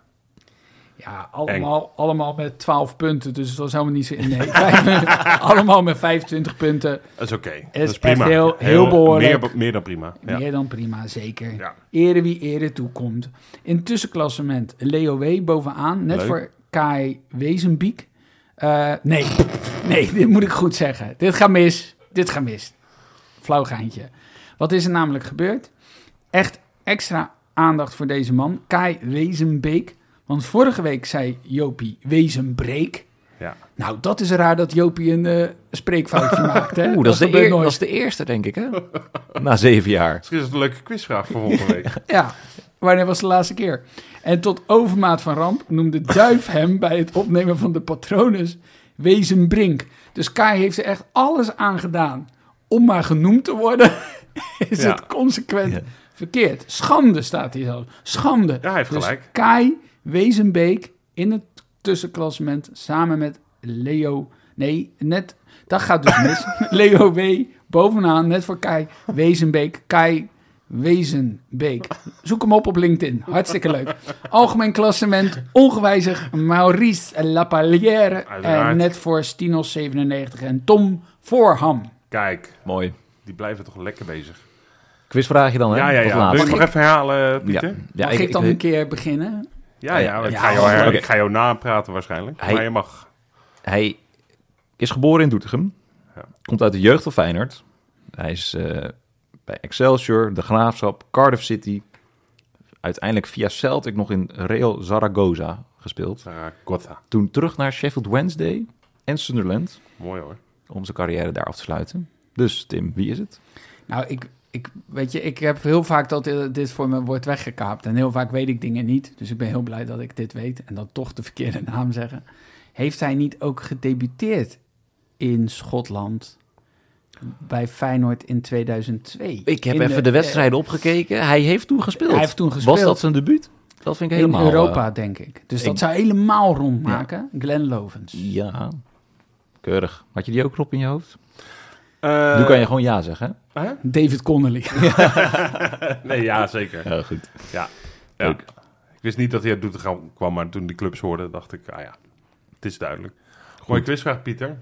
Speaker 2: allemaal, allemaal met 12 punten, dus het was helemaal niet zo... Nee, vijf- allemaal met 25 punten.
Speaker 3: Dat is oké. Dat
Speaker 2: is
Speaker 3: is prima.
Speaker 2: echt heel- heel behoorlijk.
Speaker 3: Meer, meer dan prima. Ja.
Speaker 2: Meer dan prima, zeker.
Speaker 3: Ja.
Speaker 2: Ere wie ere toekomt. In tussenklassement Leo W. bovenaan, net
Speaker 3: Leuk.
Speaker 2: voor Kai Wezenbiek. Eh, nee, nee, dit moet ik goed zeggen. Dit gaat mis, dit gaat mis. Flauw geintje. Wat is er namelijk gebeurd? Echt extra aandacht voor deze man, Kai Wezenbeek. Want vorige week zei Jopie Wezenbreek.
Speaker 3: Ja.
Speaker 2: Nou, dat is raar dat Jopie een eh, spreekfoutje maakt. Hè?
Speaker 4: Oeh, dat, is de
Speaker 2: gebeurt
Speaker 4: eer-
Speaker 2: nooit.
Speaker 4: dat is de eerste, denk ik, hè? Na zeven jaar.
Speaker 3: Misschien is het een leuke quizvraag voor volgende week.
Speaker 2: Ja, wanneer was de laatste keer? En tot overmaat van ramp noemde Duif hem bij het opnemen van de patronus Wezenbrink. Dus Kai heeft er echt alles aan gedaan om maar genoemd te worden. Is
Speaker 3: Ja.
Speaker 2: het consequent verkeerd? Schande staat hier zelfs. Schande.
Speaker 3: Ja, hij heeft
Speaker 2: Dus
Speaker 3: gelijk.
Speaker 2: Kai Wezenbeek in het tussenklassement samen met Leo. Nee, net. Dat gaat dus mis. Leo W. bovenaan, net voor Kai Wezenbeek. Kai Wezenbeek. Zoek hem op op LinkedIn. Hartstikke leuk. Algemeen klassement, ongewijzigd. Maurice Lapalière.
Speaker 3: Uiteraard.
Speaker 2: En net voor Stinos 97 en Tom Voorham.
Speaker 3: Kijk,
Speaker 4: Mooi.
Speaker 3: die blijven toch lekker bezig.
Speaker 4: Quizvraagje dan, hè?
Speaker 3: Ja, ja,
Speaker 4: Of
Speaker 3: ja.
Speaker 4: laatste?
Speaker 3: Wil je het nog even herhalen,
Speaker 4: Ja,
Speaker 3: Pieter? Ja,
Speaker 4: ja,
Speaker 2: Mag ik, dan een keer beginnen?
Speaker 3: ja.
Speaker 4: Ja,
Speaker 3: ik,
Speaker 4: ja.
Speaker 3: ga jou her-
Speaker 4: Oké.
Speaker 3: ik ga jou napraten waarschijnlijk.
Speaker 4: Hij-
Speaker 3: Maar je mag.
Speaker 4: Hij is geboren in Doetinchem.
Speaker 3: Ja.
Speaker 4: Komt uit de jeugd van Feyenoord. Hij is eh, bij Excelsior, De Graafschap, Cardiff City. Uiteindelijk via Celtic nog in Real Zaragoza gespeeld.
Speaker 3: eh, Zaragoza.
Speaker 4: Toen terug naar Sheffield Wednesday en Sunderland
Speaker 3: Mooi hoor.
Speaker 4: om zijn carrière daar af te sluiten. Dus Tim, wie is het?
Speaker 2: Nou, ik, ik, weet je, ik heb heel vaak dat eh, dit voor me wordt weggekaapt. En heel vaak weet ik dingen niet. Dus ik ben heel blij dat ik dit weet. En dan toch de verkeerde naam zeggen. Heeft hij niet ook gedebuteerd in Schotland bij Feyenoord in 2002?
Speaker 4: Ik heb
Speaker 2: In
Speaker 4: even de, wedstrijden opgekeken. Hij heeft toen gespeeld.
Speaker 2: Hij heeft toen gespeeld.
Speaker 4: Was dat zijn debuut? Dat vind ik
Speaker 2: eh,
Speaker 4: helemaal...
Speaker 2: in
Speaker 4: eh,
Speaker 2: Europa, denk ik. Dus dat
Speaker 4: ik-
Speaker 2: zou helemaal rondmaken. Glenn Lovens.
Speaker 4: ja, keurig. Had je die ook, Rob, in je hoofd?
Speaker 3: Eh,
Speaker 4: nu kan je gewoon ja zeggen, hè?
Speaker 2: David Connolly.
Speaker 3: Nee, ja, zeker.
Speaker 4: Ja, goed.
Speaker 3: Ja.
Speaker 4: Leuk.
Speaker 3: Ik wist niet dat hij uit Doetinchem kwam, maar toen die clubs hoorden, dacht ik, ah ja, het is duidelijk. Gooi een quizvraag, Pieter.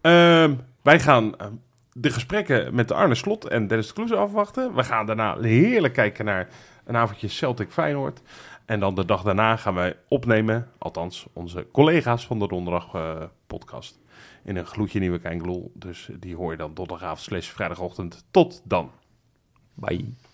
Speaker 3: Ehm, wij gaan ehm, de gesprekken met Arne Slot en Dennis de Kloeze afwachten. We gaan daarna heerlijk kijken naar een avondje Celtic Feyenoord. En dan de dag daarna gaan wij opnemen, althans onze collega's van de Donderdag eh, podcast, in een gloedje nieuwe Kijkloel. Dus die hoor je dan donderdagavond slash vrijdagochtend. Tot dan.
Speaker 4: Bye.